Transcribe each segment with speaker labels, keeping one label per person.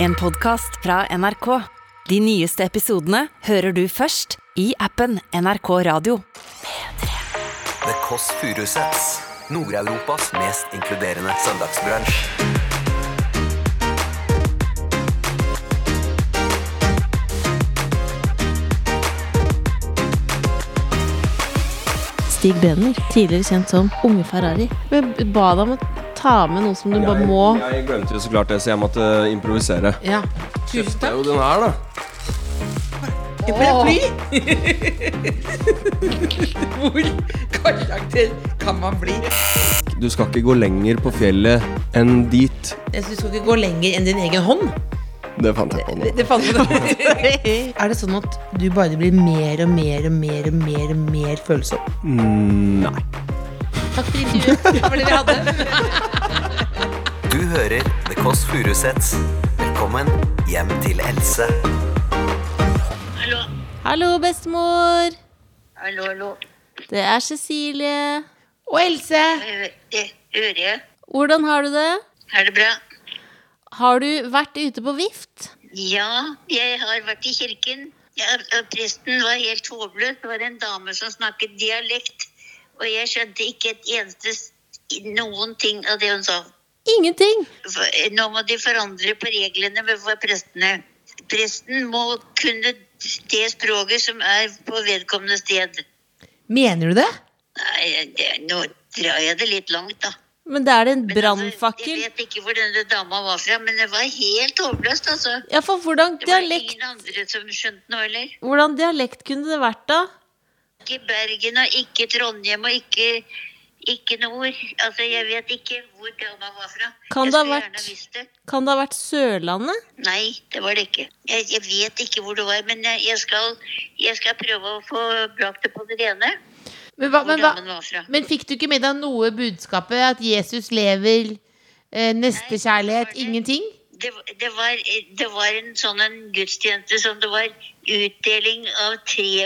Speaker 1: En podcast fra NRK. De nyeste episodene hører du først i appen NRK Radio.
Speaker 2: The Kåss Furuseths. Nord-Europas mest inkluderende søndagsbransj.
Speaker 3: Stig Brenner, tidligere kjent som Unge Ferrari. Vi ba deg om å ta med noe som du bare må
Speaker 4: Jeg, jeg glemte jo så klart det, så jeg måtte eh, improvisere.
Speaker 3: Ja, tusen
Speaker 4: Det er
Speaker 3: takk.
Speaker 4: jo den her, da.
Speaker 5: Hvor karakter kan man bli?
Speaker 4: Du skal ikke gå lenger på fjellet enn dit.
Speaker 5: Jeg synes du skal ikke gå lenger enn din egen hånd.
Speaker 4: Det fant jeg på nå.
Speaker 5: Det fant jeg ut.
Speaker 3: Er
Speaker 5: Er det sånn at du bare blir mer og mer og mer og mer og mer følsom?
Speaker 3: Takk for intervjuet. Det var det vi hadde.
Speaker 2: Du hører The Kåss Furuseths. Velkommen hjem til Else.
Speaker 3: Hallo, bestemor.
Speaker 6: Hallo, hallo.
Speaker 3: Det er Cecilie.
Speaker 5: Og Else!
Speaker 6: Eh, eh, Øre,
Speaker 3: Hvordan har du det?
Speaker 6: er det bra?
Speaker 3: Har du vært ute på vift?
Speaker 6: Ja, jeg har vært i kirken. Ja, og presten var helt håpløs. Det var en dame som snakket dialekt. Og jeg skjønte ikke et eneste s- noen ting av det hun sa.
Speaker 3: Ingenting.
Speaker 6: For- eh, Nå må de forandre på reglene med- for prestene. Presten må kunne det språket som er på vedkommende sted.
Speaker 5: Mener du det?
Speaker 6: Nei, det, nå drar jeg det litt langt, da.
Speaker 3: Men det er en
Speaker 6: Men Altså, jeg
Speaker 3: brannfakkel.
Speaker 6: vet ikke hvor denne dama var fra, men det var helt håpløst, altså.
Speaker 3: Ja, for hvordan
Speaker 6: Det var
Speaker 3: dialekt,
Speaker 6: ingen andre som skjønte noe heller.
Speaker 3: hvordan dialekt kunne det vært, da?
Speaker 6: Ikke Bergen og ikke Trondheim og ikke, ikke nord. Altså, jeg vet ikke hvor dama var fra.
Speaker 3: Kan
Speaker 6: jeg
Speaker 3: det ha
Speaker 6: skulle
Speaker 3: vært-
Speaker 6: gjerne ha visst det.
Speaker 3: Kan det ha vært Sørlandet?
Speaker 6: Nei, det var det ikke. Jeg, jeg vet ikke hvor det var, men jeg, jeg, skal, jeg skal prøve å få brakt det på det rene.
Speaker 5: Men, hva,
Speaker 6: Hvor
Speaker 5: men, hva,
Speaker 6: damen var fra.
Speaker 5: men fikk du ikke med deg noe budskapet? At Jesus lever, eh, nestekjærlighet, ingenting?
Speaker 6: Det, det, var, det var en sånn en gudstjeneste som det var utdeling av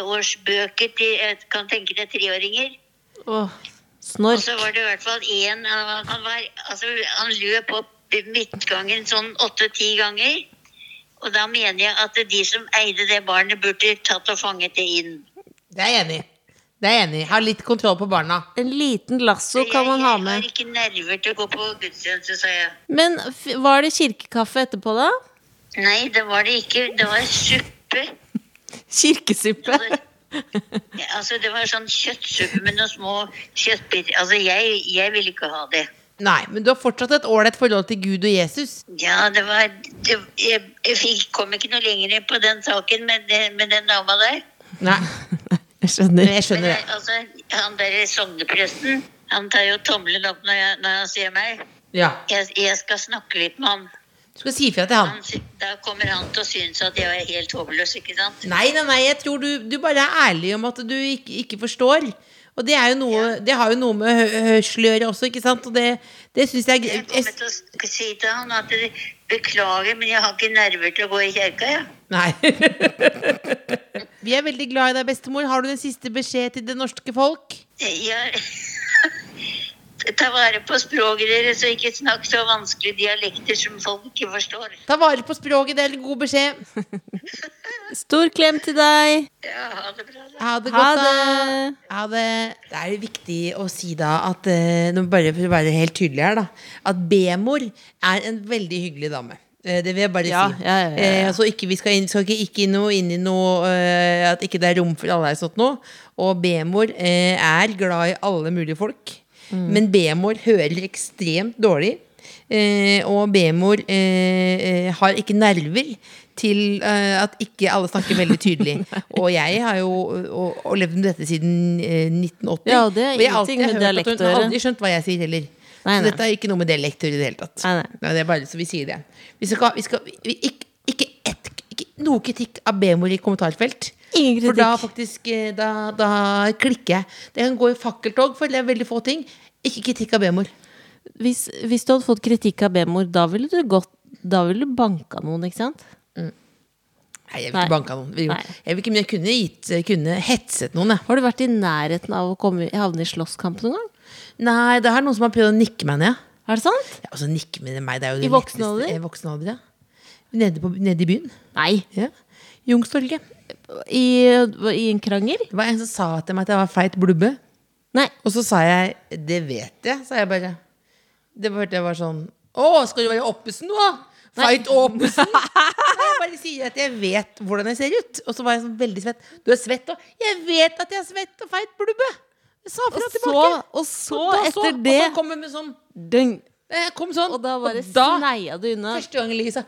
Speaker 6: treårsbøker til jeg kan tenke deg treåringer.
Speaker 3: Åh,
Speaker 6: Og
Speaker 3: snork.
Speaker 6: så var det i hvert fall én han, han var Altså, han løp opp midtgangen sånn åtte-ti ganger. Og da mener jeg at de som eide det barnet, burde tatt og fanget det inn.
Speaker 5: Det er jeg enig i. Det er jeg enig i. Ha litt kontroll på barna.
Speaker 3: En liten lasso kan man ha med.
Speaker 6: Jeg har ikke nerver til å gå på gudstjeneste, sa jeg.
Speaker 3: Men f- var det kirkekaffe etterpå, da?
Speaker 6: Nei, det var det ikke. Det var suppe.
Speaker 3: Kirkesuppe.
Speaker 6: Ja, Altså, det var sånn kjøttsuppe med noen små kjøttbiter. Altså, jeg, jeg ville ikke ha det.
Speaker 5: Nei, men du har fortsatt et ålreit forhold til Gud og Jesus.
Speaker 6: Ja, det var det, Jeg, jeg fikk, kom ikke noe lenger på den saken med, det- med den dama der.
Speaker 5: Nei,
Speaker 3: Jeg
Speaker 5: men
Speaker 3: skjønner.
Speaker 5: jeg skjønner det.
Speaker 6: Men, altså, han der sognepresten, han tar jo tommelen opp når, jeg, når han ser meg.
Speaker 5: Ja.
Speaker 6: Jeg, jeg skal snakke litt med han.
Speaker 5: Du skal si ifra til han.
Speaker 6: han. sy- Da kommer han til å synes at jeg er helt håpløs, ikke sant?
Speaker 5: Nei, nei, nei, jeg tror du, du bare er ærlig om at du ikke, ikke forstår. Og det, er jo noe, det har jo noe med hø- hørsel å gjøre også, ikke sant? Og det, det syns jeg
Speaker 6: Jeg
Speaker 5: jeg,
Speaker 6: kommer til å sk- si til han at jeg beklager, men jeg har ikke nerver til å gå i kjerka, jeg.
Speaker 5: Nei. Vi er veldig glad i deg, bestemor. Har du en siste beskjed til det norske folk?
Speaker 6: Ja. Ta vare på språket deres, og ikke snakk så vanskelige dialekter som folk ikke forstår.
Speaker 5: Ta vare på språket, det er en god beskjed.
Speaker 3: Stor klem til deg.
Speaker 6: Ja, ha det bra. da.
Speaker 5: Ha det
Speaker 3: Ha
Speaker 5: godt, da.
Speaker 3: det.
Speaker 5: Ja, det, det er jo viktig å si da at eh, nå Bare for å være helt tydelig her, da. At B-mor er en veldig hyggelig dame. Eh, Det vil jeg bare
Speaker 3: Ja,
Speaker 5: si.
Speaker 3: ja, ja, ja, ja.
Speaker 5: Eh, altså ikke, vi skal, inn, skal ikke, ikke inn noe, inn i noe eh, At ikke det er rom for alle her sånt nå. Og B-mor eh, er glad i alle mulige folk.
Speaker 3: Mm.
Speaker 5: Men B-mor hører ekstremt dårlig. Eh, og B-mor eh, eh, har ikke nerver til eh, at ikke alle snakker veldig tydelig. og jeg har jo og, og levd med dette siden eh, 1980.
Speaker 3: Ja, og det er
Speaker 5: Og jeg har
Speaker 3: ingenting
Speaker 5: alltid
Speaker 3: med
Speaker 5: hørt at
Speaker 3: dialekt å
Speaker 5: Hun har
Speaker 3: gjøre.
Speaker 5: aldri skjønt hva jeg sier heller.
Speaker 3: Nei,
Speaker 5: så
Speaker 3: nei.
Speaker 5: dette er ikke noe med dialekt å gjøre i det hele tatt.
Speaker 3: Nei, nei.
Speaker 5: det er bare så vi sier det. Vi skal, vi skal, vi, ikke, ikke, ett- ikke noe kritikk av B-mor i kommentarfelt.
Speaker 3: Ingen
Speaker 5: eh, For da
Speaker 3: kritikk.
Speaker 5: faktisk eh, da, da klikker jeg. Det kan gå i fakkeltog for det er veldig få ting. Ikke kritikk av B-mor.
Speaker 3: Hvis, hvis du hadde fått kritikk av B-mor, da ville du gått Da ville du banka noen, ikke sant?
Speaker 5: Nei, jeg vil
Speaker 3: Nei.
Speaker 5: ikke banka noen. Jo,
Speaker 3: Nei.
Speaker 5: Jeg vil ikke, men jeg kunne, gitt, eh, kunne hetset noen, jeg.
Speaker 3: Har du vært i nærheten av å komme, havne i slåsskamp noen gang?
Speaker 5: Nei, det er noen som har prøvd å nikke meg ned.
Speaker 3: Er det sant?
Speaker 5: Ja, altså nikke med meg, det er jo
Speaker 3: I
Speaker 5: det
Speaker 3: voksen
Speaker 5: letteste-
Speaker 3: alder?
Speaker 5: I voksen alder, ja. Nede, på, nede i byen.
Speaker 3: Nei,
Speaker 5: Ja. Youngstorget.
Speaker 3: i, i en krangel?
Speaker 5: Det var en som sa til meg at jeg var feit blubbe.
Speaker 3: Nei.
Speaker 5: Og så sa jeg 'det vet jeg', sa jeg bare. Det var, det var sånn 'Å, skal du være Oppesen nå, da?' Fight Oppesen? Nei, jeg bare sier at jeg vet hvordan jeg ser ut. Og så var jeg sånn veldig svett. Du er svett òg. Jeg vet at jeg er svett og feit blubbe. Jeg sa fra
Speaker 3: Og så,
Speaker 5: tilbake.
Speaker 3: og så
Speaker 5: da
Speaker 3: etter
Speaker 5: og
Speaker 3: det
Speaker 5: så kom hun med sånn
Speaker 3: døng,
Speaker 5: eh, Kom sånn.
Speaker 3: Og da bare sneia du unna.
Speaker 5: Første gang i livet så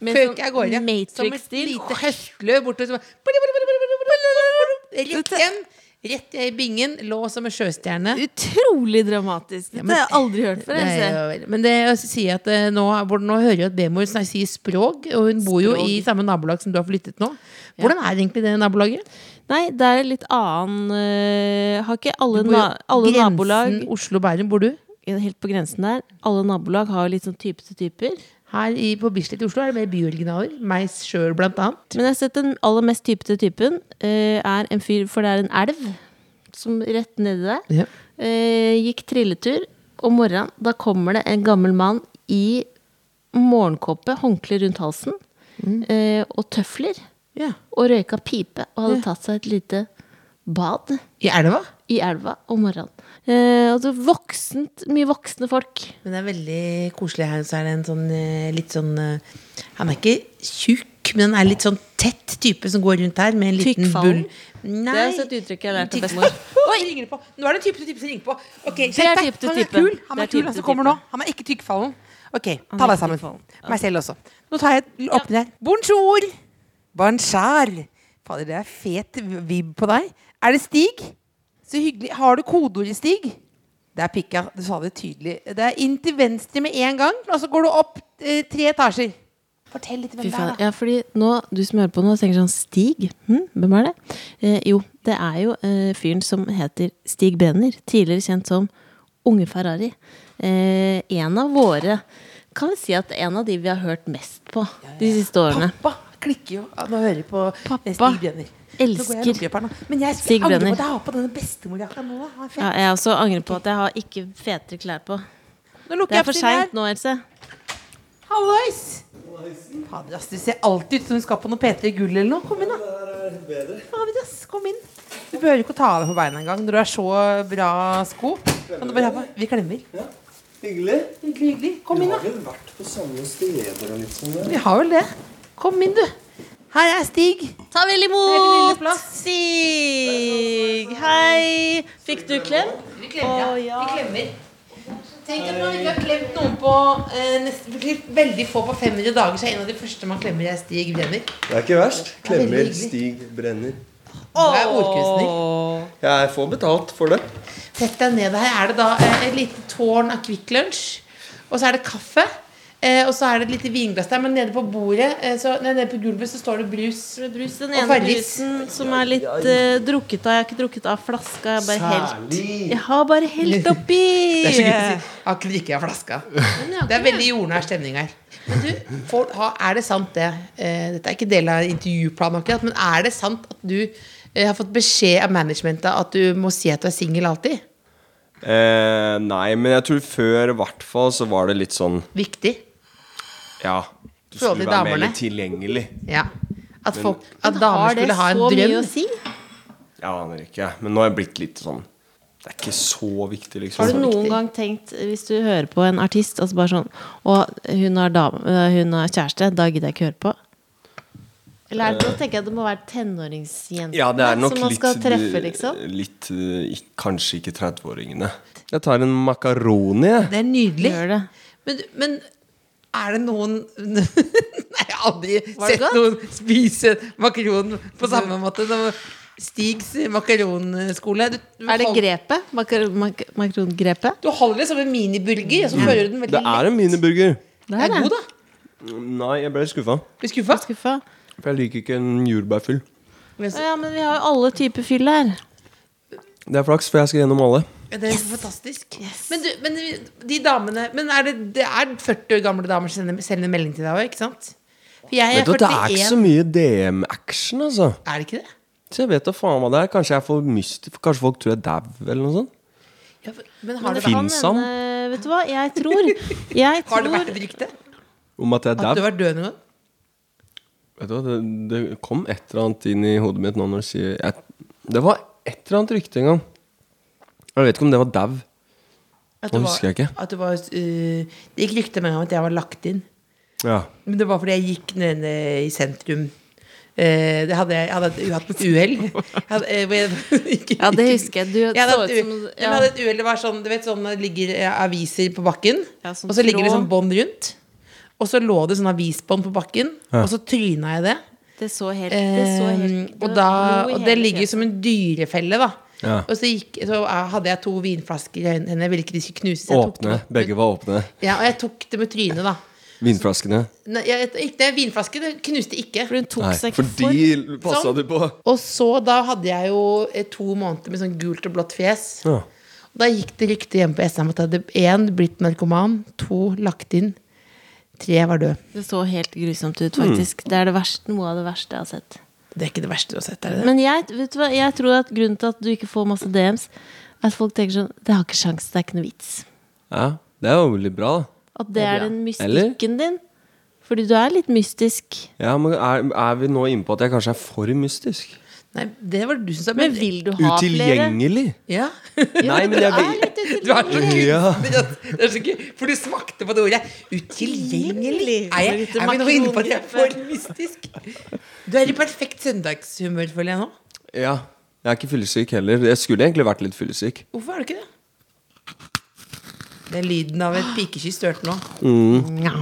Speaker 3: Med
Speaker 5: Føk
Speaker 3: sånn
Speaker 5: jeg av gårde. Som et
Speaker 3: Matrix-stil.
Speaker 5: lite høstløv bortover. så bare- bada, bada, bada, bada, bada, bada, bada. Rett hjem. Rett i bingen. Lå som en sjøstjerne.
Speaker 3: Utrolig dramatisk. Dette
Speaker 5: men-
Speaker 3: har jeg aldri hørt før.
Speaker 5: Nei,
Speaker 3: Else.
Speaker 5: ja vel. men det jeg sier at eh, nå, hvor- nå hører jeg at Bemor snak- sier språk, og hun bor jo i samme nabolag som du har flyttet nå. Hvordan er egentlig det nabolaget?
Speaker 3: Nei, det er litt annen øh, Har ikke alle,
Speaker 5: Du bor jo
Speaker 3: na alle
Speaker 5: grensen
Speaker 3: nabolag
Speaker 5: Oslo-Bærum bor du?
Speaker 3: Helt på grensen der. Alle nabolag har jo litt sånn type til typer.
Speaker 5: Her i, på Bislett i Oslo er det mer byoriginaler. Meg sjøl, blant annet.
Speaker 3: Men jeg har sett den aller mest typete typen eh, er en fyr, for det er en elv som rett nedi der.
Speaker 5: Ja.
Speaker 3: Eh, gikk trilletur om morgenen. Da kommer det en gammel mann i morgenkåpe, håndkle rundt halsen
Speaker 5: Mm.
Speaker 3: eh, og tøfler.
Speaker 5: Ja.
Speaker 3: Og røyka pipe og hadde tatt seg et lite bad
Speaker 5: I elva?
Speaker 3: i elva om morgenen. Eh, altså voksent, mye voksne folk.
Speaker 5: Men det er veldig koselig her. Så er det en sånn eh, litt sånn eh, Han er ikke tjukk, men han er litt sånn tett type som går rundt her med en liten bull.
Speaker 3: Tykkfallen?
Speaker 5: Nei.
Speaker 3: Det er også et uttrykk jeg lærte av
Speaker 5: Tykk-
Speaker 3: bestemor.
Speaker 5: Oi, ringer det på. Nå er det en type til type som ringer på. Ok,
Speaker 3: er
Speaker 5: skjerp deg.
Speaker 3: type til
Speaker 5: Han er
Speaker 3: type.
Speaker 5: kul, han
Speaker 3: Det er
Speaker 5: er kul,
Speaker 3: type
Speaker 5: han
Speaker 3: til
Speaker 5: som kommer nå.
Speaker 3: type.
Speaker 5: Han er ikke tykkfallen. Ok,
Speaker 3: er
Speaker 5: ta deg
Speaker 3: ikke
Speaker 5: sammen.
Speaker 3: tykkfallen.
Speaker 5: Meg selv også. Nå tar jeg åpner her. Bonjour. Bonjour. Fader, det er fet vib på deg. Er det Stig? Så hyggelig. Har du kodeordet, Stig? Det er pikka. Du sa det tydelig. Det er inn til venstre med en gang, og så går du opp eh, tre etasjer. Fortell litt hvem
Speaker 3: Fy
Speaker 5: det er,
Speaker 3: faen.
Speaker 5: da.
Speaker 3: Ja, fordi nå, du som hører på nå, tenker sånn Stig? Hm, hvem er det? Eh, jo, det er jo eh, fyren som heter Stig Brenner. Tidligere kjent som Unge Ferrari. Eh, en av våre Kan vi si at en av de vi har hørt mest på de siste årene.
Speaker 5: Pappa klikker jo. Ah, Nå hører jeg på eh,
Speaker 3: Pappa
Speaker 5: Stig Brenner. Nå går jeg og
Speaker 3: elsker
Speaker 5: lukker opp her nå. Men jeg
Speaker 3: Stig
Speaker 5: skulle angre på
Speaker 3: Brenner.
Speaker 5: at jeg har på denne bestemorjakka nå. da. Han er fet.
Speaker 3: Ja, jeg også angrer på at jeg har ikke fetere klær på.
Speaker 5: Nå
Speaker 3: Det
Speaker 5: lukker
Speaker 3: er
Speaker 5: jeg
Speaker 3: for
Speaker 5: opp siden her.
Speaker 3: seint nå, Else.
Speaker 5: Hallois! Fader, ass, du ser alltid ut som du skal på noe P3 Gull eller noe. Kom inn, da. Fader, ass, kom inn. Du behøver ikke å ta av deg på beina engang når du har så bra sko. Kan du bare ha på? Vi klemmer.
Speaker 7: Hyggelig.
Speaker 5: Hyggelig, hyggelig. Kom inn, da.
Speaker 7: vel vært på samme steder og litt sånn? ja.
Speaker 5: Vi har vel det. Kom inn, du. Her er Stig.
Speaker 3: Ta vel
Speaker 5: Her er lille
Speaker 3: imot
Speaker 5: plass.
Speaker 3: Stig! Hei! Fikk du klem?
Speaker 5: Vi klemmer, ja.
Speaker 3: Å, ja.
Speaker 5: Vi klemmer. Tenk at man ikke har klemt noen på eh, nesten, Veldig få på 500 dager, så er en av de første man klemmer, er Stig Brenner.
Speaker 7: Det er ikke verst.
Speaker 5: veldig
Speaker 7: Klemmer,
Speaker 5: hyggelig.
Speaker 7: stig, brenner.
Speaker 5: Du er ordkunstner.
Speaker 7: Jeg får betalt for det.
Speaker 5: Sett deg ned. Her er det da eh, et lite tårn av Kvikk Lunsj. Og så er det kaffe. Eh, og så er det et lite vinglass der, men nede på bordet eh, så, nei, nede på gulvet så står det brus.
Speaker 3: Med brus, den
Speaker 5: Og
Speaker 3: ene
Speaker 5: Farris.
Speaker 3: brusen som er litt eh, drukket av. Jeg har ikke drukket av flaska. Jeg har bare helt
Speaker 7: Særlig.
Speaker 3: Jeg har bare helt oppi!
Speaker 5: Det er så gøy å si. Jeg har ikke drikket av flaska. Det er veldig jordnær stemning her. Men du, for, ha, er det sant det eh, Dette er ikke del av intervjuplanen akkurat, men er det sant at du eh, har fått beskjed av managementet at du må si at du er singel alltid?
Speaker 4: Eh, nei, men jeg tror før i hvert fall så var det litt sånn
Speaker 5: Viktig.
Speaker 4: Ja. Du
Speaker 5: Forhold
Speaker 4: skulle
Speaker 5: til
Speaker 4: være
Speaker 5: damene.
Speaker 4: mer litt tilgjengelig.
Speaker 5: Ja. At, folk, at damer skulle ha en
Speaker 3: så
Speaker 5: drøm.
Speaker 3: mye å si?
Speaker 4: Jeg aner ikke. Men nå har jeg blitt litt sånn Det er ikke så viktig, liksom.
Speaker 3: Har du noen gang tenkt, hvis du hører på en artist, altså bare sånn Og hun har, dame, øh, hun har kjæreste, da gidder jeg ikke høre på? Eller er det, da tenker jeg at det må være tenåringsjentene
Speaker 4: Ja, det er nok
Speaker 3: som man
Speaker 4: litt,
Speaker 3: skal treffe, liksom?
Speaker 4: litt eh, ik- Kanskje ikke 30-åringene. Jeg tar en makaroni, jeg.
Speaker 5: Det er nydelig.
Speaker 3: Gjør det.
Speaker 5: Men, men er det noen Nei, jeg har aldri
Speaker 3: Var det
Speaker 5: sett
Speaker 3: godt?
Speaker 5: noen spise makaron på samme måte som Stigs makaronskole. Du, du,
Speaker 3: Er det
Speaker 5: hold-
Speaker 3: grepet? Makar- mak Makronggrepet?
Speaker 5: du holder det som en miniburger, og så fører du den veldig
Speaker 4: Det er en miniburger.
Speaker 5: Det er god,
Speaker 3: det.
Speaker 5: da.
Speaker 4: Nei, jeg ble skuffa.
Speaker 5: Blir skuffa?
Speaker 3: Skuffa.
Speaker 4: For jeg liker ikke en jordbærfyll.
Speaker 3: Å Ja, men vi har jo alle typer fyll her.
Speaker 4: Det er flaks, for jeg skal gjennom alle.
Speaker 5: Ja, det er fantastisk. Men, du, men de damene Men er det, det er 40 år gamle damer som sender, sender melding til deg òg, ikke sant? For jeg
Speaker 4: Vet
Speaker 5: er
Speaker 4: du, Det er
Speaker 5: 41.
Speaker 4: ikke så mye DM-action, altså.
Speaker 5: Er det ikke det?
Speaker 4: Så jeg vet da faen hva det er. Kanskje jeg får myst Kanskje folk tror jeg dau, eller noe sånt.
Speaker 5: Ja, for- men
Speaker 3: Men
Speaker 5: har,
Speaker 3: det
Speaker 5: det,
Speaker 4: Finnes
Speaker 3: kan hende- Vet du hva, jeg tror Jeg
Speaker 5: har det
Speaker 3: tror
Speaker 5: vært et rykte?
Speaker 4: om at jeg er
Speaker 5: At du
Speaker 4: dau.
Speaker 5: var død noen gang?
Speaker 4: Vet du hva, det, det kom et eller annet inn i hodet mitt nå når du sier jeg, Det var et eller annet rykte en gang. Jeg vet ikke om det var dau. Nå
Speaker 5: At det var-
Speaker 4: husker jeg ikke.
Speaker 5: At det, var, eh, det gikk rykter meg om at jeg var lagt inn.
Speaker 4: Ja.
Speaker 5: Men det var fordi jeg gikk ned eh, i sentrum. Eh, Det hadde jeg, jeg hadde et- hatt et uhell. Jeg hadde, eh, hvor jeg gikk-
Speaker 3: Ja, det husker jeg. Du
Speaker 5: Jeg hadde
Speaker 3: så ut
Speaker 5: hatt et
Speaker 3: som
Speaker 5: uhell.
Speaker 3: ja.
Speaker 5: Nei, men jeg hadde et uhell. Det var sånn, du vet, sånn det ligger eh, aviser på bakken,
Speaker 3: Ja, sånn
Speaker 5: og så ligger det
Speaker 3: tråd.
Speaker 5: sånn bånd rundt. Og så lå det sånn avisbånd på bakken,
Speaker 4: Ja.
Speaker 5: og så tryna jeg det.
Speaker 3: Det så helt, det så helt
Speaker 5: Eh, og,
Speaker 3: det
Speaker 5: da,
Speaker 3: lå i
Speaker 5: og det
Speaker 3: hele
Speaker 5: ligger
Speaker 3: fjeset.
Speaker 5: som en dyrefelle, da.
Speaker 4: Ja.
Speaker 5: Og så, gikk, så eh, hadde jeg to vinflasker i øynene. Jeg ville ikke de skulle knuses. Jeg tok
Speaker 4: Åpne.
Speaker 5: det med-
Speaker 4: Begge var åpne.
Speaker 5: Ja, og jeg tok det med trynet, da.
Speaker 4: Vinflaskene.
Speaker 5: Nei, jeg, ikke- det vinflaske det knuste ikke.
Speaker 3: For hun tok
Speaker 4: Nei,
Speaker 3: seg
Speaker 4: for
Speaker 3: ikke for.
Speaker 4: de passa
Speaker 5: Sånn.
Speaker 4: du på.
Speaker 5: Og så da hadde jeg jo eh, to måneder med sånn gult og blått fjes.
Speaker 4: Ja.
Speaker 5: Og da gikk det rykte hjemme på SM at jeg hadde én blitt narkoman, to lagt inn, tre var død.
Speaker 3: Det så helt grusomt ut,
Speaker 4: Mm.
Speaker 3: faktisk. Det er det verste, noe av det verste jeg har sett.
Speaker 5: Det er ikke det verste du har sett, er det det?
Speaker 3: Men jeg, vet du hva, jeg tror at grunnen til at du ikke får masse DMs, er at folk tenker sånn Det har ikke sjans, det er ikke noe vits.
Speaker 4: ja. Det er jo veldig bra, da.
Speaker 3: At det er den
Speaker 4: Eller?
Speaker 3: mystikken din. Fordi du er litt mystisk.
Speaker 4: Ja, men er, er vi nå inne på at jeg kanskje er for mystisk?
Speaker 5: Nei, det var det du som sa.
Speaker 3: Men vil du ha flere?
Speaker 4: Utilgjengelig?
Speaker 5: Ja.
Speaker 4: Nei, men jeg
Speaker 3: Er
Speaker 4: vil
Speaker 3: litt
Speaker 5: Du er så
Speaker 3: utilgjengelig.
Speaker 4: Ja.
Speaker 5: kunstner. at- Det er så gøy, for du smakte på det ordet. Utilgjengelig. Er, jeg, er vi nå inne på at jeg er for mystisk? Du er i perfekt søndagshumør, føler jeg nå.
Speaker 4: ja. Jeg er ikke fyllesyk heller. Jeg skulle egentlig vært litt fyllesyk.
Speaker 5: Hvorfor er du ikke det? Det er lyden av et pikekyss du hørte nå.
Speaker 4: Det er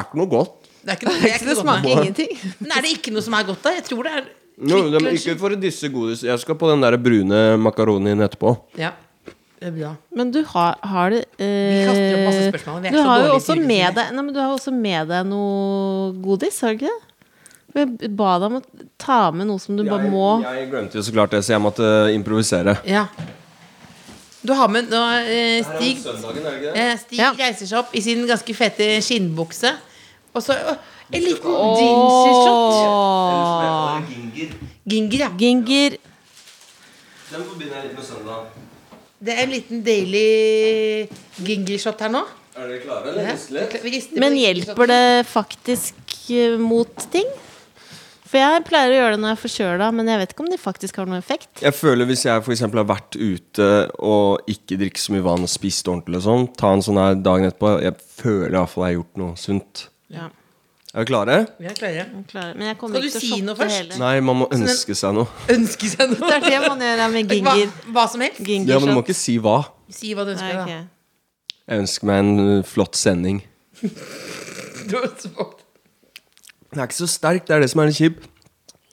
Speaker 4: ikke noe godt.
Speaker 5: Det er ikke noe, det er ikke noe godt.
Speaker 3: ingenting.
Speaker 5: Men er det ikke noe som er godt, da? Jeg tror det er
Speaker 4: No, det er ikke for å disse godis. Jeg skal på den der brune makaronien etterpå.
Speaker 5: Ja, det er bra.
Speaker 3: Men du har, har det eh,
Speaker 5: Vi kaster opp masse spørsmål, vi er
Speaker 3: Du
Speaker 5: så
Speaker 3: har jo
Speaker 5: dårlige
Speaker 3: også
Speaker 5: til å
Speaker 3: med
Speaker 5: utvikle.
Speaker 3: deg Nei, men du har også med deg noe godis, har du ikke det? For Jeg ba deg om å ta med noe som du bare må
Speaker 4: Jeg glemte jo så klart det, så jeg måtte improvisere.
Speaker 5: Ja. Du har med nå, eh, Stig eh, Stig
Speaker 3: Ja.
Speaker 5: reiser seg opp i sin ganske fete skinnbukse. Og så å, en liten
Speaker 3: Åh.
Speaker 5: gingershot. Ginger, ja.
Speaker 3: Ginger.
Speaker 4: Den forbinder jeg litt med søndag.
Speaker 5: Det er en liten deilig gingershot her nå.
Speaker 4: Er dere klare,
Speaker 5: Ja.
Speaker 4: eller?
Speaker 5: Vi rister på
Speaker 3: Men
Speaker 5: gingershoten.
Speaker 4: sånn.
Speaker 3: hjelper det faktisk eh, mot ting? For jeg pleier å gjøre det når jeg er forkjøla, men jeg vet ikke om det faktisk har noen effekt.
Speaker 4: Jeg føler Hvis jeg for eksempel har vært ute og ikke drikker så mye vann og spist ordentlig, og sånn ta en sånn her dagen etterpå Jeg føler iallfall jeg har gjort noe sunt.
Speaker 5: Ja,
Speaker 4: Er vi klare?
Speaker 5: vi er klare.
Speaker 3: Jeg klarer- Men jeg kommer
Speaker 5: Skal du
Speaker 3: ikke til å
Speaker 5: si noe
Speaker 3: shotte
Speaker 5: først?
Speaker 3: hele.
Speaker 4: Nei, man må ønske seg noe.
Speaker 5: Ønske seg noe.
Speaker 3: Det er det man gjør her med
Speaker 5: hva,
Speaker 3: ginger.
Speaker 5: hva som helst.
Speaker 4: Ja, men du må
Speaker 3: Gingershot.
Speaker 4: ikke si hva.
Speaker 5: Si hva du ønsker
Speaker 3: Nei,
Speaker 5: deg,
Speaker 3: ok.
Speaker 4: Jeg ønsker meg en ø, flott sending.
Speaker 5: da. Du har svart.
Speaker 4: Den er ikke så sterk, det er det som er litt kjipt.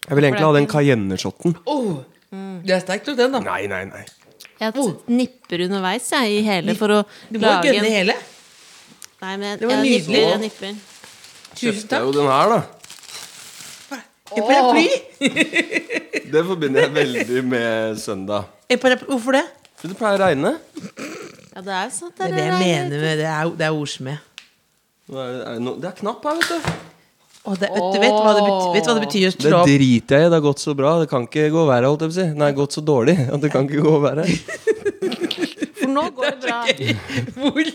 Speaker 4: Jeg vil egentlig ha den Cayenne-shotten.
Speaker 5: Åh, Oh, Det er sterkt nok, den, da.
Speaker 4: Nei, nei, nei.
Speaker 3: Jeg t- nipper underveis jeg, i hele for å
Speaker 5: Du må
Speaker 3: lage en
Speaker 5: gønne hele.
Speaker 3: Nei, men
Speaker 5: Det var
Speaker 3: jeg
Speaker 5: nydelig.
Speaker 3: nipper, jeg nipper.
Speaker 5: Tusen
Speaker 4: Det er
Speaker 5: takk.
Speaker 4: jo den her, da.
Speaker 5: En paraply?
Speaker 4: Det forbinder jeg veldig med søndag.
Speaker 5: En paraply. Hvorfor det?
Speaker 4: For det pleier å regne.
Speaker 3: Ja, det er jo sant.
Speaker 5: Det er det jeg mener med det er, det er ordsmed.
Speaker 4: Nå er Det er no- det er knapp her, vet du.
Speaker 5: Åh, det, vet, du vet, hva det betyr, vet du hva det betyr å
Speaker 4: Det
Speaker 5: trå opp?
Speaker 4: driter jeg i. Det har gått så bra. Det kan ikke gå verre, holdt jeg på å si. Nei, gått så dårlig at det kan ikke gå verre.
Speaker 3: For nå går det bra.
Speaker 5: Hvor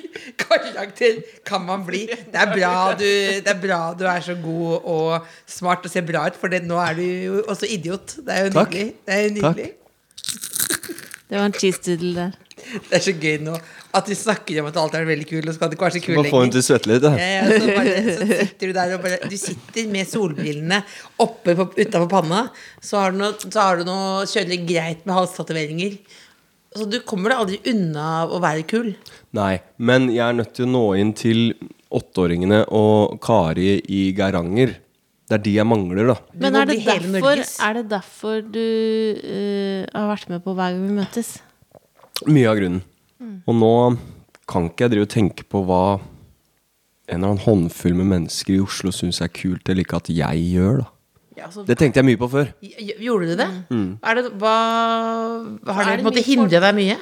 Speaker 5: karakter kan man bli? Det er bra du, det er, bra du er så god og smart og ser bra ut, for det, nå er du jo også idiot. Det er jo
Speaker 4: Takk.
Speaker 5: nydelig. Det er, jo nydelig.
Speaker 3: Det var en cheese doodle der.
Speaker 5: Det er så gøy nå at du snakker om at alt er veldig kult, og så kan det ikke være så kult
Speaker 4: Bare få henne til å svette litt.
Speaker 5: Ja,
Speaker 4: Da.
Speaker 5: ja, Eh, så, bare, så sitter du der og bare Du sitter med solbrillene oppe på, utenfor panna, så har du noe, så har du noe kjølig greit med halstatoveringer. Så du kommer deg aldri unna å være kul.
Speaker 4: Nei, men jeg er nødt til å nå inn til åtteåringene og Kari i Geiranger. Det er de jeg mangler, da.
Speaker 5: Du
Speaker 3: Men
Speaker 5: må
Speaker 3: er det,
Speaker 5: bli hele
Speaker 3: derfor,
Speaker 5: Norges.
Speaker 3: er det derfor du eh, har vært med på hver gang vi møtes?
Speaker 4: Mye av grunnen. Og nå kan ikke jeg drive og tenke på hva en eller annen håndfull med mennesker i Oslo syns er kult, eller ikke at jeg gjør, da.
Speaker 5: Ja, altså,
Speaker 4: Det tenkte jeg mye på før.
Speaker 5: gj- Gjorde du det? Er det hva, har det
Speaker 3: Er det
Speaker 5: på en måte
Speaker 3: mye folk?
Speaker 5: hindra deg mye?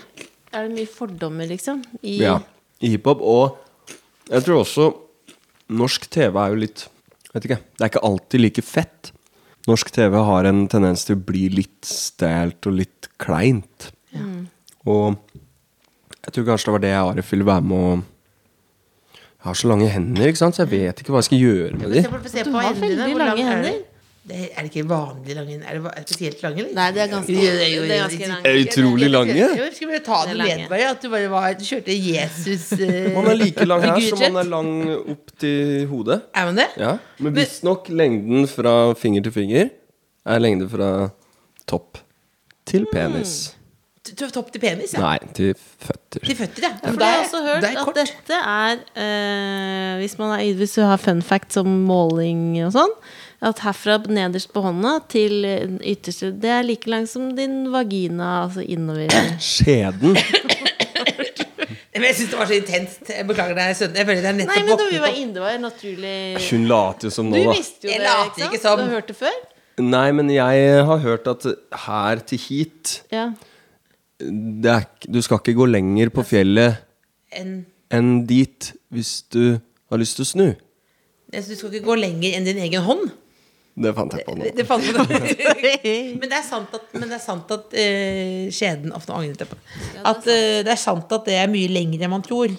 Speaker 3: Er det mye fordommer, liksom? I,
Speaker 4: Ja, i hiphop. Og jeg tror også norsk TV er jo litt Vet ikke. Det er ikke alltid like fett. Norsk TV har en tendens til å bli litt stælt og litt kleint. Og jeg tror kanskje det var det jeg Arif ville være med å Jeg har så lange hender, ikke sant? så jeg vet ikke hva jeg skal gjøre med de.
Speaker 5: Se på, se
Speaker 3: Du
Speaker 5: på
Speaker 3: har
Speaker 5: hendene dine.
Speaker 3: veldig
Speaker 5: Hvor
Speaker 3: lange
Speaker 5: lang er det?
Speaker 3: hender.
Speaker 5: Det er det ikke vanlig lange hender? Er det va- er det spesielt lange, eller?
Speaker 3: Nei, det er ganske,
Speaker 5: Jo, jo, jo,
Speaker 3: det er
Speaker 5: jo.
Speaker 3: ganske langt.
Speaker 4: Er Utrolig lange.
Speaker 5: Jo, Skal vi bare ta det
Speaker 3: Det er
Speaker 5: med
Speaker 3: lange.
Speaker 5: bare at du bare var, du kjørte Jesus eh,
Speaker 4: Man er like lang her som man
Speaker 5: figurtrekk?
Speaker 4: er lang opp til hodet.
Speaker 5: Er man det?
Speaker 4: Ja, Men visstnok lengden fra finger til finger er lengde fra topp til penis.
Speaker 5: T- t- Topp til penis? Ja.
Speaker 4: Nei, til føtter.
Speaker 5: Til føtter, ja. ja
Speaker 3: For det har jeg også hørt
Speaker 5: det er
Speaker 3: at
Speaker 5: kort.
Speaker 3: dette er eh, hvis, man er hvis du har fun fact som måling og sånn, at herfra nederst på hånda til eh, den ytterste Det er like lang som din vagina, altså innover.
Speaker 4: Skjeden.
Speaker 5: Men jeg syns det var så intenst. Jeg beklager deg, sønnen. Jeg føler det er
Speaker 3: Nei,
Speaker 5: nettopp
Speaker 3: men da vi
Speaker 5: våknet
Speaker 3: var
Speaker 5: opp.
Speaker 3: inne, det var naturlig
Speaker 4: Hun later jo som
Speaker 3: Du
Speaker 4: nå, da.
Speaker 3: visste jo
Speaker 5: Jeg
Speaker 3: det, ikke
Speaker 5: later
Speaker 3: sant?
Speaker 5: ikke som.
Speaker 3: Du har hørt det før?
Speaker 4: Nei, men jeg har hørt at her til hit
Speaker 3: Ja.
Speaker 4: det er, ikke- Du skal ikke gå lenger på fjellet
Speaker 5: En-
Speaker 4: enn dit hvis du har lyst til å snu.
Speaker 5: Altså, Du skal ikke gå lenger enn din egen hånd.
Speaker 4: Det fant jeg på nå.
Speaker 5: Det, det fant man men det er sant at, men det er sant at eh, skjeden Å, nå angret jeg på det. At eh, det er sant at det er mye lengre enn man tror.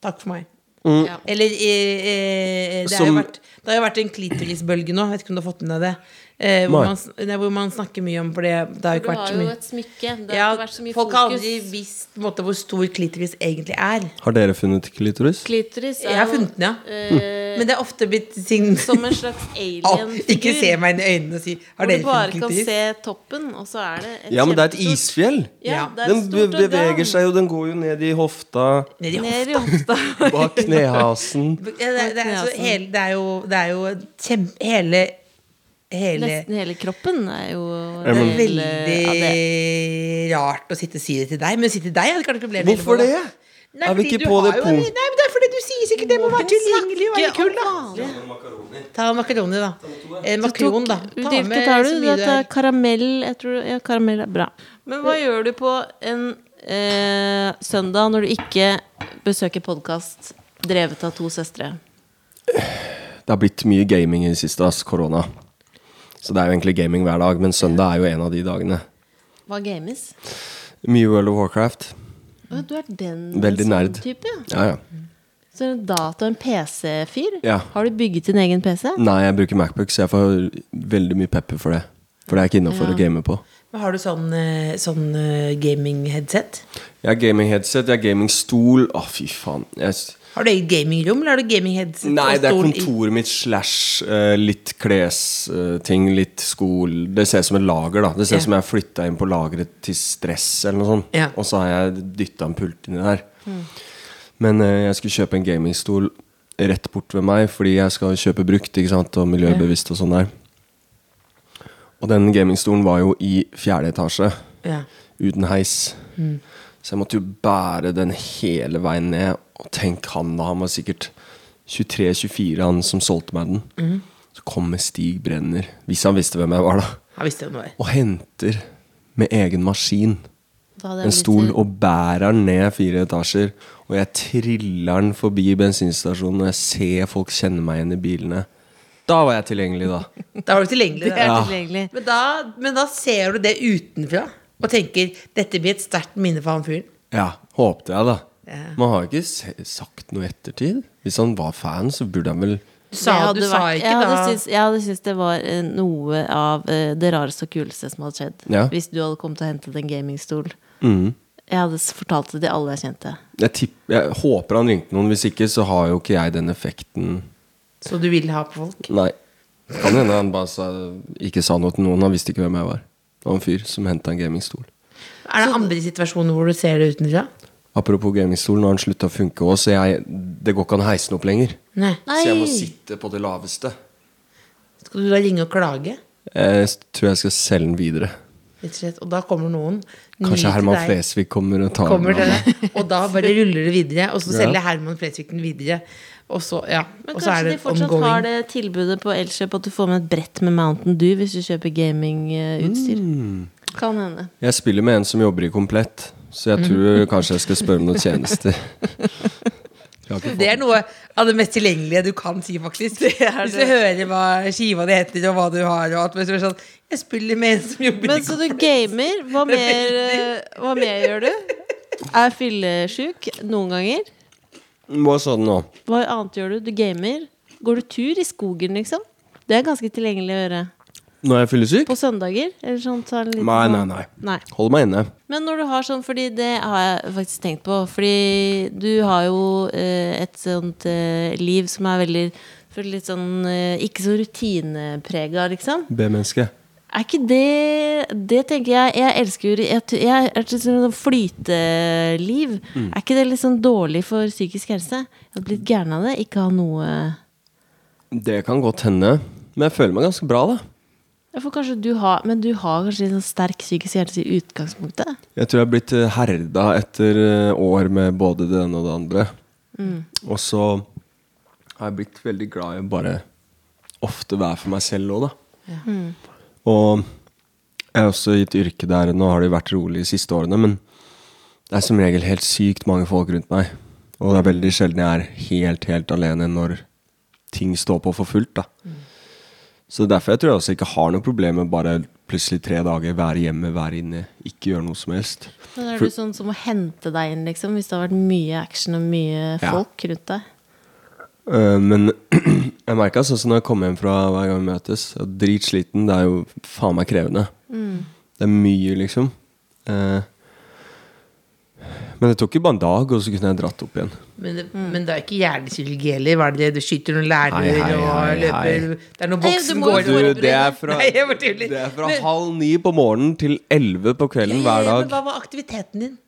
Speaker 5: Takk for meg.
Speaker 3: Ja.
Speaker 5: Eller eh, eh, det, har jo
Speaker 4: Mm. Som-
Speaker 5: vært, det har jo vært en klitorisbølge nå. Vet ikke om du har fått med deg det. Eh, hvor,
Speaker 4: Nei.
Speaker 5: man, s- nei, hvor man snakker mye om For det, det har jo
Speaker 3: Du
Speaker 5: ikke vært
Speaker 3: har
Speaker 5: så
Speaker 3: jo
Speaker 5: mye
Speaker 3: et smykke. Det har
Speaker 5: ja,
Speaker 3: ikke vært så mye
Speaker 5: Folk har
Speaker 3: fokus.
Speaker 5: aldri visst på en måte, hvor stor klitoris egentlig er.
Speaker 4: Har dere funnet klitoris?
Speaker 3: Klitoris er
Speaker 5: Jeg har
Speaker 3: jo,
Speaker 5: funnet den, ja.
Speaker 3: eh,
Speaker 5: Men det er ofte blitt ting
Speaker 3: som en slags
Speaker 5: Au,
Speaker 3: alien
Speaker 5: Ikke se meg inn i øynene og si Har
Speaker 3: Hvor du
Speaker 5: dere
Speaker 3: bare
Speaker 5: funnet
Speaker 3: kan
Speaker 5: klitoris?
Speaker 3: se toppen, og så er det et
Speaker 4: Ja, men det er et
Speaker 3: kjempestort-
Speaker 4: isfjell.
Speaker 3: Ja, det er
Speaker 4: Den
Speaker 3: et
Speaker 4: be
Speaker 3: stort
Speaker 4: beveger
Speaker 3: organ.
Speaker 4: seg jo, den går jo ned i hofta,
Speaker 5: Ned i
Speaker 3: Ned i hofta.
Speaker 4: bak knehasen.
Speaker 5: Ja, det, er- det, er, så
Speaker 3: Knesen.
Speaker 5: hele, det er jo, det er jo kjem- hele, hele
Speaker 3: Nesten hele kroppen er jo
Speaker 4: Ja,
Speaker 5: Det er
Speaker 4: men-
Speaker 3: del, eh, av det.
Speaker 5: veldig rart å sitte og si det til deg, men å si til deg hadde kanskje ikke blitt
Speaker 4: Hvorfor det?
Speaker 5: Nei,
Speaker 4: Er vi
Speaker 5: fordi
Speaker 4: ikke
Speaker 5: du
Speaker 4: på
Speaker 5: har
Speaker 4: det
Speaker 5: jo-
Speaker 4: punkt-
Speaker 5: Nei, men Det er fordi du sier sikkert det må være tilgjengelig og være kul, da. Ta makaroni, da. Eh, makron, da.
Speaker 3: Du tok- Hvilke tar du?
Speaker 5: så
Speaker 3: Du vet,
Speaker 5: mye du
Speaker 3: det er
Speaker 5: har.
Speaker 3: karamell. Jeg tror, ja, karamell er bra. Men hva gjør du på en eh, søndag når du ikke besøker podkast drevet av to søstre?
Speaker 4: Det har blitt mye gaming i det siste, ass, korona. Så det er jo egentlig gaming hver dag, men søndag er jo en av de dagene.
Speaker 3: Hva games?
Speaker 4: Mye World of Warcraft.
Speaker 3: Å, Du er den
Speaker 4: Veldig
Speaker 3: sånn
Speaker 4: nerd.
Speaker 3: type, ja.
Speaker 4: Ja, ja.
Speaker 3: Så er det en data- og en PC-fyr?
Speaker 4: Ja. Mm.
Speaker 3: Har du bygget din egen PC?
Speaker 4: Nei, jeg bruker Macbook, så jeg får veldig mye pepper for det. For det er ikke innafor å game på.
Speaker 5: Men har du sånn, eh, sånn eh, gaming-headset?
Speaker 4: Jeg har gaming-headset, jeg har gamingstol. Å, fy faen. Jeg... s-
Speaker 5: Har du eget gamingrom, eller har du gaming-headset?
Speaker 4: Nei,
Speaker 5: og
Speaker 4: det er
Speaker 5: stol i-
Speaker 4: kontoret mitt slash eh, litt klesting, litt skol Det ser ut som et lager, da. Det ser ut
Speaker 5: Ja.
Speaker 4: som jeg har flytta inn på lageret til stress eller noe sånt.
Speaker 5: Ja. Mm.
Speaker 4: Og så har jeg dytta en pult inni der. Men eh, jeg skulle kjøpe en gamingstol rett bort ved meg, fordi jeg skal kjøpe brukt ikke sant? og miljøbevisst og sånn der. Og den gamingstolen var jo i fjerde etasje,
Speaker 5: Ja.
Speaker 4: uten heis. Så jeg måtte jo bære den hele veien ned. Og tenk han da, han var sikkert 23-24, han som solgte meg den. Så kommer Stig Brenner, hvis han visste hvem jeg var, da,
Speaker 5: Han visste jo noe.
Speaker 4: og henter med egen maskin
Speaker 3: Da hadde jeg
Speaker 4: en
Speaker 3: blitt-
Speaker 4: stol og bærer den ned fire etasjer. Og jeg triller den forbi bensinstasjonen, og jeg ser folk kjenne meg igjen i bilene. Da var jeg tilgjengelig, da.
Speaker 5: Da var du tilgjengelig.
Speaker 3: Det
Speaker 5: Da.
Speaker 3: er
Speaker 4: Ja.
Speaker 3: tilgjengelig.
Speaker 5: Men, da, men da ser du det utenfra og tenker dette blir et sterkt minne for han fyren.
Speaker 4: Ja, Håpte jeg, da.
Speaker 5: Ja.
Speaker 4: Man har jo ikke se- sagt noe i ettertid. Hvis han var fan, så burde han vel
Speaker 5: Du sa,
Speaker 3: eh, Jeg hadde
Speaker 5: du sa
Speaker 3: vært-
Speaker 5: ikke
Speaker 3: jeg hadde
Speaker 5: da
Speaker 3: Syns, jeg hadde syntes det var eh, noe av eh, det rareste og kuleste som hadde skjedd.
Speaker 4: Ja. Mm.
Speaker 3: Hvis du hadde kommet og hentet en gamingstol. Jeg hadde s- fortalt det til alle jeg kjente.
Speaker 4: jeg, tipp, jeg håper han ringte noen. Hvis ikke, så har jo ikke jeg den effekten.
Speaker 5: Så du ville ha på folk?
Speaker 4: Nei. Kan hende han bare sa, ikke sa noe til noen. Han visste ikke hvem jeg var. Det var en fyr som henta en gamingstol.
Speaker 5: Er det andre situasjoner hvor du ser det utenfra?
Speaker 4: Apropos gamingstol, når den slutta å funke òg, så jeg, det går ikke an å heise den opp lenger.
Speaker 5: Nei.
Speaker 4: Så jeg
Speaker 3: Nei.
Speaker 4: må sitte på det laveste.
Speaker 5: Skal du da ringe og klage?
Speaker 4: Jeg s- tror jeg skal selge den videre.
Speaker 5: Rett og slett. Og da kommer noen ny
Speaker 4: Kanskje
Speaker 5: til
Speaker 4: Herman
Speaker 5: deg.
Speaker 4: Flesvig kommer og tar
Speaker 5: Kommer
Speaker 4: den.
Speaker 5: til deg. Og da bare ruller det videre, og så
Speaker 4: Ja.
Speaker 5: selger Herman Flesvig den videre. Og så, ja.
Speaker 3: Men
Speaker 5: Og så
Speaker 3: kanskje
Speaker 5: er det
Speaker 3: de fortsatt
Speaker 5: ongoing.
Speaker 3: har det tilbudet på Elkjøp at du får med et brett med Mountain Dew hvis du kjøper gamingutstyr.
Speaker 5: Mm.
Speaker 3: Kan hende.
Speaker 4: Jeg spiller med en som jobber i Komplett, så jeg tror kanskje jeg skal spørre om noen tjenester. Jeg har ikke
Speaker 5: Det er noe av det mest tilgjengelige du kan si, faktisk. Hvis du hører hva skiva di heter, og hva du har, og alt men så er det sånn Jeg spiller med en som jobber
Speaker 3: Men så du gamer. Hva mer, eh, hva mer gjør du? Er fyllesjuk noen ganger?
Speaker 4: Hva sa du nå?
Speaker 3: Hva annet gjør du? Du gamer. Går du tur i skogen, liksom? Det er ganske tilgjengelig å gjøre.
Speaker 4: Når jeg fyller syk?
Speaker 3: På søndager? Eller sånn, ta en liten
Speaker 4: Nei, nei, nei.
Speaker 3: Nei.
Speaker 4: Hold meg inne.
Speaker 3: Men når du har sånn, fordi det har jeg faktisk tenkt på Fordi du har jo eh, et sånt eh, liv som er veldig for litt sånn eh, Ikke så rutineprega, liksom.
Speaker 4: B-menneske.
Speaker 3: Er ikke det Det tenker jeg Jeg elsker jo Jeg, t- jeg er et litt sånn flyteliv. Er ikke det litt sånn dårlig for psykisk helse? Jeg har blitt gæren av det. Ikke ha noe
Speaker 4: Det kan godt hende. Men jeg føler meg ganske bra, da.
Speaker 3: Ja, for kanskje du har Men du har kanskje litt sånn sterk psykisk helse i utgangspunktet?
Speaker 4: Jeg tror jeg er blitt eh, herda etter eh, år med både det ene og det andre. Og så har jeg blitt veldig glad i å bare ofte være for meg selv òg, da. Og jeg er også i et yrke der Nå har det jo vært rolig de siste årene, men det er som regel helt sykt mange folk rundt meg. Og det er veldig sjelden jeg er helt, helt alene når ting står på for fullt, da. Så derfor jeg tror jeg også ikke har noe problem med bare plutselig tre dager være hjemme, være inne, ikke gjøre noe som helst.
Speaker 3: Men er
Speaker 4: For-
Speaker 3: du sånn som må hente deg inn, liksom, hvis det har vært mye action og mye
Speaker 4: Ja.
Speaker 3: folk rundt deg?
Speaker 4: Eh, men jeg merka sånn som når jeg kom hjem fra hver gang vi møtes jeg er Dritsliten. Det er jo faen meg krevende.
Speaker 5: Mm.
Speaker 4: Det er mye, liksom. Eh, men det tok jo bare en dag, og så kunne jeg dratt opp igjen.
Speaker 5: Men det, men det er ikke hjernekirurgi heller. Hva er det du skyter noen lærere
Speaker 4: Hei, hei, hei,
Speaker 5: og løper
Speaker 4: hei.
Speaker 5: Det er når
Speaker 3: Nei, du
Speaker 5: boksen
Speaker 3: må jo
Speaker 5: går
Speaker 3: Du, forberede-
Speaker 4: det er fra,
Speaker 5: Nei, jeg bare tuller.
Speaker 4: det er fra
Speaker 5: Men-
Speaker 4: halv ni på morgenen til elleve på kvelden hver
Speaker 5: Ja, ja, Men
Speaker 4: dag.
Speaker 5: hva var aktiviteten din?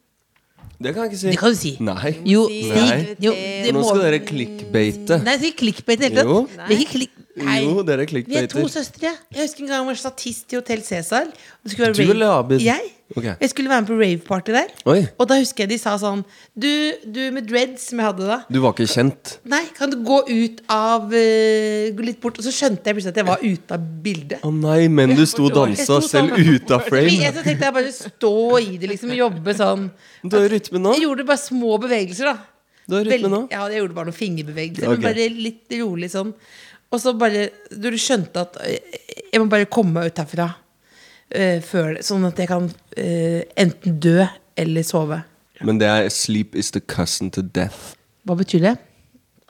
Speaker 4: Det kan jeg ikke si.
Speaker 5: Det kan du si.
Speaker 4: Nei.
Speaker 5: Jo,
Speaker 4: Nei.
Speaker 5: Jo, det
Speaker 4: Nå
Speaker 5: må-
Speaker 4: skal dere clickbate.
Speaker 5: Nei, det er ikke clickbait i det hele
Speaker 4: Jo.
Speaker 5: tatt. Det er ikke click... Nei.
Speaker 4: Jo, dere
Speaker 5: Vi er to
Speaker 4: clickbater.
Speaker 5: søstre. Jeg husker en gang jeg var statist i Hotell Cæsar. og det skulle være
Speaker 4: Du
Speaker 5: rave-
Speaker 4: eller Abid?
Speaker 5: Jeg.
Speaker 4: Ok.
Speaker 5: Jeg skulle være med på rave-party der.
Speaker 4: Oi.
Speaker 5: Og da husker jeg de sa sånn Du, du med dreads, som jeg hadde da.
Speaker 4: Du var ikke kjent.
Speaker 5: Nei, kan du gå ut av eh, Gå litt bort. Og så skjønte jeg plutselig at jeg var ute av bildet.
Speaker 4: Å nei, men du sto og dansa selv ute av
Speaker 5: Men
Speaker 4: frame.
Speaker 5: Jeg så tenkte jeg bare stå i det, liksom. Jobbe sånn.
Speaker 4: Du har rytme nå.
Speaker 5: Jeg gjorde bare små bevegelser, da.
Speaker 4: Du har rytme
Speaker 5: Vel-
Speaker 4: nå.
Speaker 5: Ja, jeg gjorde bare noen fingerbevegelser.
Speaker 4: Ok.
Speaker 5: Men bare litt rolig sånn. Og så bare Du skjønte at eh, jeg må bare komme meg ut herfra. eh, før, det, sånn at jeg kan eh, enten dø eller sove.
Speaker 4: Men det er 'sleep is the cousin to death'.
Speaker 5: Hva betyr det?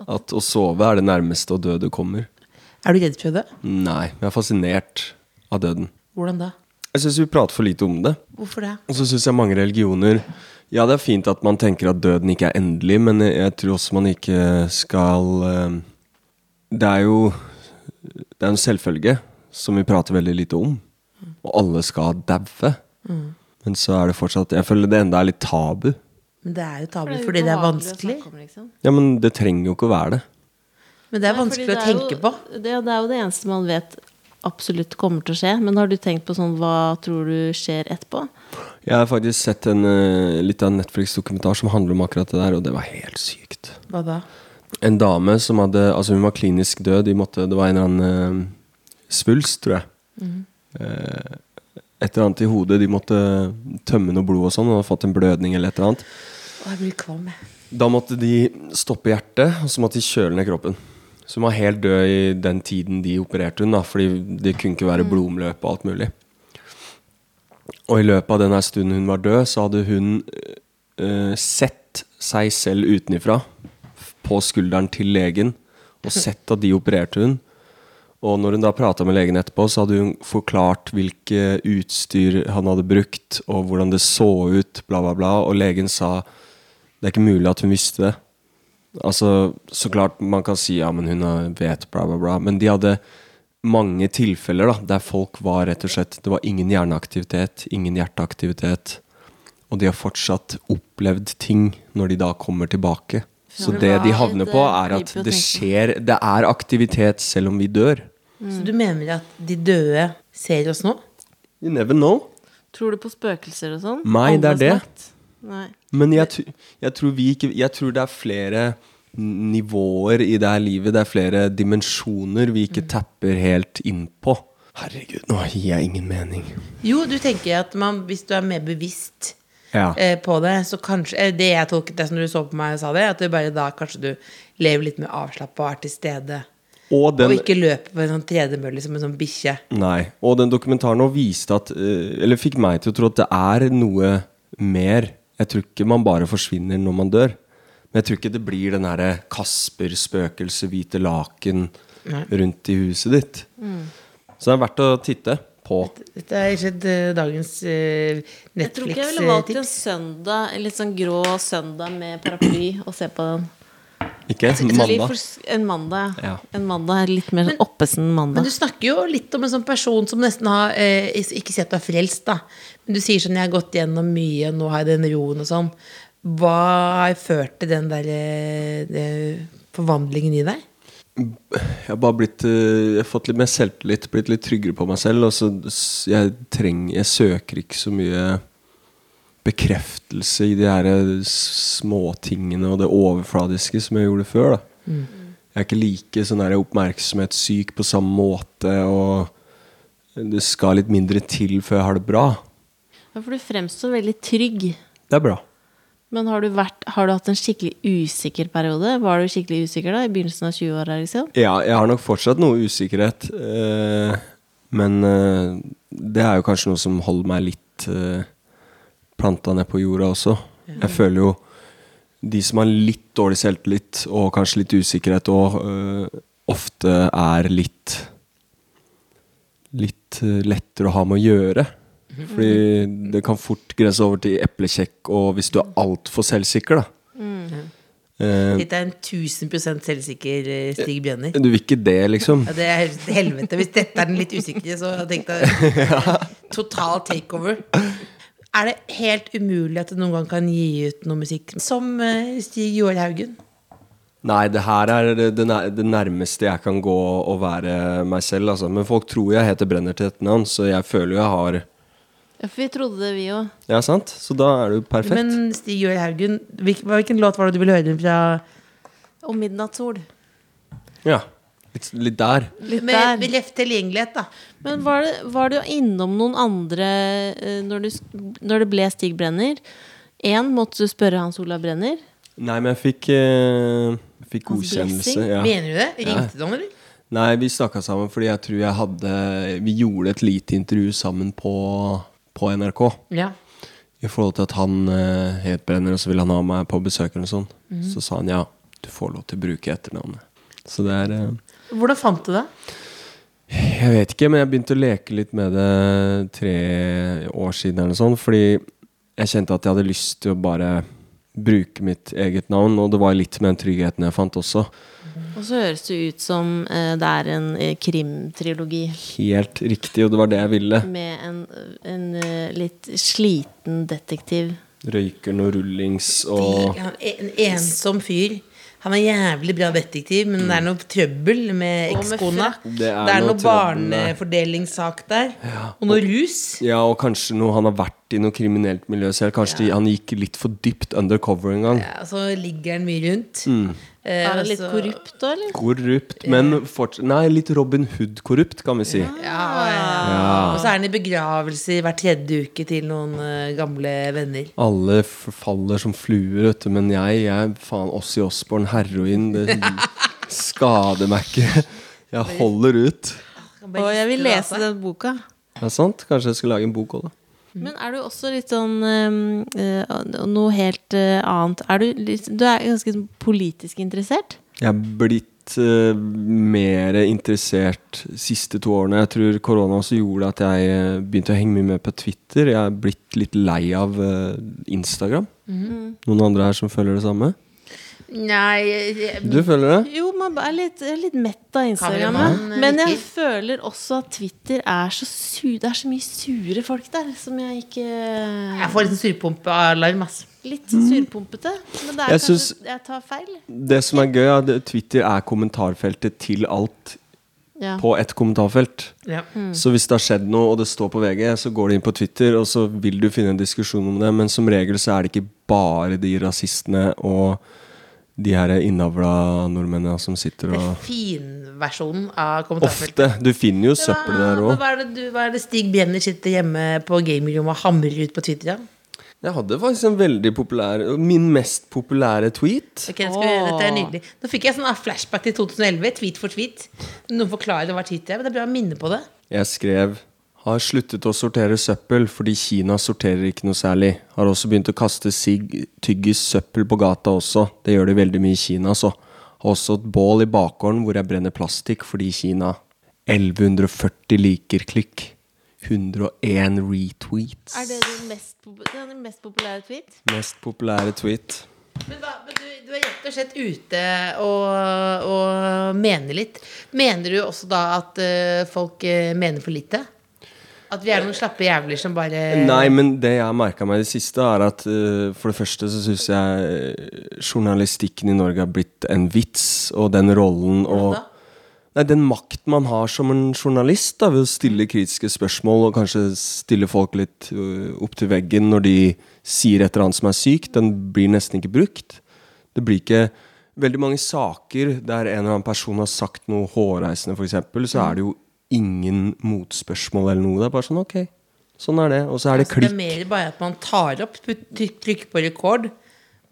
Speaker 4: At å sove er det nærmeste å dø du kommer.
Speaker 5: Er du redd for å dø?
Speaker 4: Nei, jeg er fascinert av døden.
Speaker 5: Hvordan da?
Speaker 4: Jeg syns vi prater for lite om det.
Speaker 5: Hvorfor det?
Speaker 4: Og så syns jeg mange religioner Ja, det er fint at man tenker at døden ikke er endelig, men jeg- jeg tror også man ikke skal eh, Det er jo Det er en selvfølge som vi prater veldig lite om. Og alle skal daue. Men så er det fortsatt Jeg føler det enda er litt tabu.
Speaker 5: Men det er jo tabu fordi det er vanskelig.
Speaker 3: liksom.
Speaker 4: Ja, men det trenger jo ikke å være det.
Speaker 5: Men det er vanskelig å tenke på.
Speaker 3: Det, det er jo det eneste man vet absolutt kommer til å skje. Men har du tenkt på sånn hva tror du skjer etterpå?
Speaker 4: Jeg har faktisk sett en, eh, litt av en Netflix-dokumentar som handler om akkurat det der, og det var helt sykt.
Speaker 5: Hva da?
Speaker 4: En dame som hadde Altså, hun var klinisk død. De måtte, det var en eller annen eh, svulst, tror jeg. Eh, et eller annet i hodet. De måtte tømme noe blod og sånn. Hun hadde fått en blødning eller et eller annet.
Speaker 5: Å, jeg blir kvalm, jeg.
Speaker 4: Da måtte de stoppe hjertet, og så måtte de kjøle ned kroppen. Så hun var helt død i den tiden de opererte hun, da, fordi det kunne ikke være blodomløp og alt mulig. Og i løpet av den her stunden hun var død, så hadde hun eh, sett seg selv utenifra på skulderen til legen, og sett at de opererte hun. Og når hun da prata med legen etterpå, så hadde hun forklart hvilke utstyr han hadde brukt, og hvordan det så ut, bla, bla, bla. Og legen sa det er ikke mulig at hun visste det. Altså, så klart man kan si ja, men hun har- vet bla, bla, bla. Men de hadde mange tilfeller da, der folk var rett og slett Det var ingen hjerneaktivitet, ingen hjerteaktivitet. Og de har fortsatt opplevd ting når de da kommer tilbake. Så
Speaker 3: Ja, det
Speaker 4: det de
Speaker 3: var
Speaker 4: havner
Speaker 3: litt,
Speaker 4: på,
Speaker 3: eh,
Speaker 4: er at
Speaker 3: creepy å
Speaker 4: det
Speaker 3: tenke på.
Speaker 4: skjer Det er aktivitet selv om vi dør.
Speaker 5: Så du mener at de døde ser oss nå?
Speaker 4: You never know.
Speaker 3: Tror du på spøkelser og sånn?
Speaker 4: Nei, det er
Speaker 3: Åndenes
Speaker 4: det.
Speaker 3: makt? Nei.
Speaker 4: Men jeg, tu- jeg, tror vi ikke, jeg tror det er flere n- nivåer i det her livet. Det er flere dimensjoner vi ikke tapper helt inn på. Herregud, nå gir jeg ingen mening.
Speaker 5: Jo, du tenker at man, hvis du er mer bevisst
Speaker 4: Ja.
Speaker 5: eh, på det, så kanskje eh, Det jeg tolket det som du så på meg og sa det, at det bare da kanskje du lever litt mer avslappa og er til stede.
Speaker 4: Og den,
Speaker 5: og ikke løper på en sånn tredemølle som en sånn bikkje.
Speaker 4: nei, og den dokumentaren nå viste at eh, Eller fikk meg til å tro at det er noe mer. Jeg tror ikke man bare forsvinner når man dør. Men jeg tror ikke det blir den derre Kasper-spøkelset, hvite laken rundt i huset ditt. Så det er verdt å titte på.
Speaker 5: Dette er ikke eh, dagens eh,
Speaker 3: Jeg tror ikke jeg ville valgt en
Speaker 5: Netflix-tips.
Speaker 3: søndag, en litt sånn grå søndag med paraply, og se på den.
Speaker 4: Ikke
Speaker 3: Så- så litt
Speaker 4: mandag.
Speaker 3: for- En mandag, ja.
Speaker 4: Ja.
Speaker 3: En mandag er litt mer sånn oppesen
Speaker 5: Men
Speaker 3: mandag.
Speaker 5: du snakker jo litt om en sånn person som nesten har eh, Ikke sett deg frelst, da. Men du sier sånn 'Jeg har gått gjennom mye, nå har jeg den roen', og sånn. Hva har ført til den der eh, det- forvandlingen i deg?
Speaker 4: Jeg har bare blitt eh, Jeg har fått litt mer selvtillit, blitt litt tryggere på meg selv. Og så s- jeg, trenger, jeg søker ikke så mye bekreftelse i de her eh, småtingene og det overfladiske som jeg gjorde før. Da. Jeg er ikke like sånn her oppmerksomhetssyk på samme måte, og det skal litt mindre til før jeg har det bra.
Speaker 3: Ja, for du fremstår veldig trygg.
Speaker 4: Det er bra.
Speaker 3: Men har du, vært, har du hatt en skikkelig usikker periode? Var du skikkelig usikker da, i begynnelsen av 20-åra? Liksom?
Speaker 4: Ja, jeg har nok fortsatt noe usikkerhet. eh, men eh, det er jo kanskje noe som holder meg litt eh, planta ned på jorda også. Jeg føler jo de som har litt dårlig selvtillit og kanskje litt usikkerhet òg, ofte er litt Litt eh, lettere å ha med å gjøre. Fordi det kan fort grense over til eplekjekk og hvis du er altfor selvsikker, da. Eh,
Speaker 5: Dette er en 1000 selvsikker eh, Stig Brenner.
Speaker 4: du vil ikke det, liksom.
Speaker 5: Ja, det er helt helvete. Hvis dette er den litt usikre, så tenkte jeg total takeover. Er det helt umulig at du noen gang kan gi ut noe musikk som eh, Stig Joar Haugen?
Speaker 4: Nei, det her er det, det nær- det nærmeste jeg kan gå å være meg selv. Altså. Men folk tror jeg heter Brenner til etternavn, så jeg føler jo jeg har
Speaker 3: Ja, for vi trodde det, vi òg.
Speaker 4: Ja, sant? Så da er det jo perfekt.
Speaker 5: Men Stig Joar Haugen, hvilken, hvilken låt var det du ville høre fra
Speaker 3: Og midnattssol.
Speaker 4: Ja. Litt, litt der.
Speaker 3: Litt
Speaker 5: Med
Speaker 3: der.
Speaker 5: med lett tilgjengelighet, da.
Speaker 3: Men var, det, var du innom noen andre eh, når, du, sk- når det ble Stig Brenner? Én måtte du spørre Hans Olav Brenner.
Speaker 4: Nei, men jeg fikk, eh, jeg fikk
Speaker 3: Hans blessing?
Speaker 4: godkjennelse. Ja.
Speaker 5: Mener du det? Ringte du han, eller?
Speaker 4: Nei, vi snakka sammen fordi jeg tror jeg hadde Vi gjorde et lite intervju sammen på, på NRK.
Speaker 5: Ja.
Speaker 4: I forhold til at han eh, het Brenner, og så ville han ha meg på besøk eller noe sånt. Så sa han ja, du får lov til å bruke etternavnet. Så det er eh,
Speaker 5: Hvordan fant du det?
Speaker 4: Jeg vet ikke, men jeg begynte å leke litt med det tre år siden eller noe sånt, fordi jeg kjente at jeg hadde lyst til å bare bruke mitt eget navn, og det var litt med den tryggheten jeg fant også.
Speaker 3: Og så høres det ut som eh, det er en eh, krimtrilogi
Speaker 4: Helt riktig, og det var det jeg ville.
Speaker 3: med en, en eh, litt sliten detektiv.
Speaker 4: Røyken og rullings og
Speaker 5: Ja, En ensom fyr. Han er jævlig bra detektiv, men det er noe trøbbel med
Speaker 3: Og med
Speaker 5: ekskona.
Speaker 4: Mm. Det er
Speaker 5: Det
Speaker 4: noe
Speaker 5: er noe
Speaker 4: trøbbel.
Speaker 5: barnefordelingssak der. Og noe rus.
Speaker 4: ja, og kanskje noe han har vært i noe kriminelt miljø selv. Kanskje de, han gikk litt for dypt undercover en gang.
Speaker 5: Ja, og så ligger han mye rundt.
Speaker 4: Mm.
Speaker 5: Eh,
Speaker 3: Er
Speaker 5: og
Speaker 3: det litt
Speaker 5: så-
Speaker 3: korrupt da, eller?
Speaker 4: Korrupt, men fortsatt Nei, litt Robin Hood-korrupt, kan vi si.
Speaker 5: Ja, og, og så er han i begravelser hver tredje uke til noen eh, gamle venner.
Speaker 4: Alle f- faller som fluer, vet du, men jeg, jeg faen Ossi Osborn, heroin, det skader meg ikke. Jeg holder ut.
Speaker 5: Han
Speaker 3: Og
Speaker 5: bare
Speaker 3: jeg vil
Speaker 5: rister av
Speaker 3: lese
Speaker 5: seg.
Speaker 3: den boka.
Speaker 4: Det er sant? Kanskje jeg skal lage en bok òg, da.
Speaker 3: Men er du også litt sånn eh, eh, Noe helt eh, annet Er du litt Du er ganske sånn politisk interessert?
Speaker 4: Jeg er blitt eh, mer interessert siste to årene. Jeg tror korona også gjorde at jeg eh, begynte å henge mye med på Twitter. Jeg er blitt litt lei av eh, Instagram. Noen andre her som føler det samme?
Speaker 5: Nei, jeg-
Speaker 4: Du føler det?
Speaker 3: Jo, man er litt, jeg er litt mett av Instagram. ja.
Speaker 5: Kameramann, eh,
Speaker 3: Men jeg
Speaker 5: liker.
Speaker 3: føler også at Twitter er så su Det er så mye sure folk der som jeg ikke
Speaker 5: jeg får litt sånn surpumpealarm, ass.
Speaker 3: Litt sånn surpumpete. Men det er
Speaker 4: Jeg
Speaker 3: kanskje
Speaker 4: syns-
Speaker 3: jeg tar feil.
Speaker 4: Det som er gøy, er at Twitter er kommentarfeltet til alt
Speaker 3: Ja.
Speaker 4: på ett kommentarfelt.
Speaker 5: Ja.
Speaker 4: Så hvis det har skjedd noe, og det står på VG, så går det inn på Twitter, og så vil du finne en diskusjon om det, men som regel så er det ikke bare de rasistene og de her innavla nordmennene som sitter
Speaker 5: Det
Speaker 4: og
Speaker 5: er finversjonen av kommentarfeltet.
Speaker 4: Ofte. Du finner jo
Speaker 5: Hva,
Speaker 4: søppel der
Speaker 5: men
Speaker 4: òg.
Speaker 5: hva, er det du, hva er det Stig Brenner sitter hjemme på gamingrommet og hamrer ut på Twitter? Ja?
Speaker 4: Jeg hadde faktisk en veldig populær Min mest populære tweet.
Speaker 5: Ok, jeg skal, Dette er nydelig. Nå fikk jeg sånn flashback til 2011, tweet for tweet. Noen forklarer hva tweet er, men det er bra å minne på det.
Speaker 4: Jeg skrev Har sluttet å sortere søppel fordi Kina sorterer ikke noe særlig. Har også begynt å kaste sigg, tyggis, søppel på gata også. Det gjør de veldig mye i Kina, så. Har også et bål i bakgården hvor jeg brenner plastikk fordi Kina 1140 liker klikk. 101 retweets.
Speaker 3: Er det den mest, pop- det er den mest populære tweet?
Speaker 4: Mest populære tweet.
Speaker 5: Men, hva, men du, du er rett og slett ute og, og mener litt. Mener du også da at eh, folk eh, mener for lite? At vi er noen slappe jævler som bare
Speaker 4: Nei, men det jeg har merka meg i det siste, er at eh, for det første så syns jeg eh, journalistikken i Norge har blitt en vits, og den rollen og
Speaker 5: da?
Speaker 4: Nei, den makt man har som en journalist da, ved å stille kritiske spørsmål og kanskje stille folk litt eh, opp til veggen når de sier et eller annet som er sykt, den blir nesten ikke brukt. Det blir ikke veldig mange saker der en eller annen person har sagt noe hårreisende, f.eks., så er det jo ingen motspørsmål eller noe. Det er bare sånn ok, sånn er det. Og så er det
Speaker 5: altså, det er
Speaker 4: klikk.
Speaker 5: mer bare at man tar opp, putt- tryk- trykker på rekord,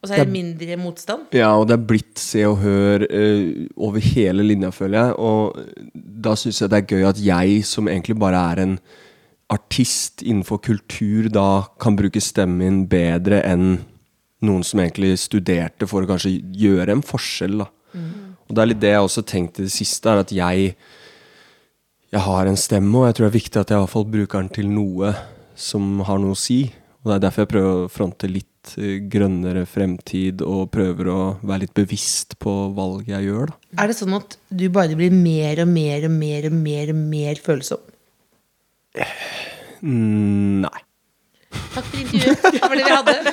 Speaker 5: og så er det mindre motstand.
Speaker 4: Ja, og det er blitt Se og Hør eh, over hele linja, føler jeg. Og eh, da syns jeg det er gøy at jeg, som egentlig bare er en artist innenfor kultur, da kan bruke stemmen min bedre enn noen som egentlig studerte for å kanskje gjøre en forskjell, da. Og det er litt det jeg også har tenkt i det siste, er at jeg jeg har en stemme, og jeg tror det er viktig at jeg i hvert fall bruker den til noe som har noe å si. Og det er derfor jeg prøver å fronte litt eh, grønnere fremtid, og prøver å være litt bevisst på valget jeg gjør, da.
Speaker 5: Er det sånn at du bare blir mer og mer og mer og mer, og mer følsom?
Speaker 4: Mm, nei.
Speaker 5: Takk for intervjuet. Det var det vi hadde.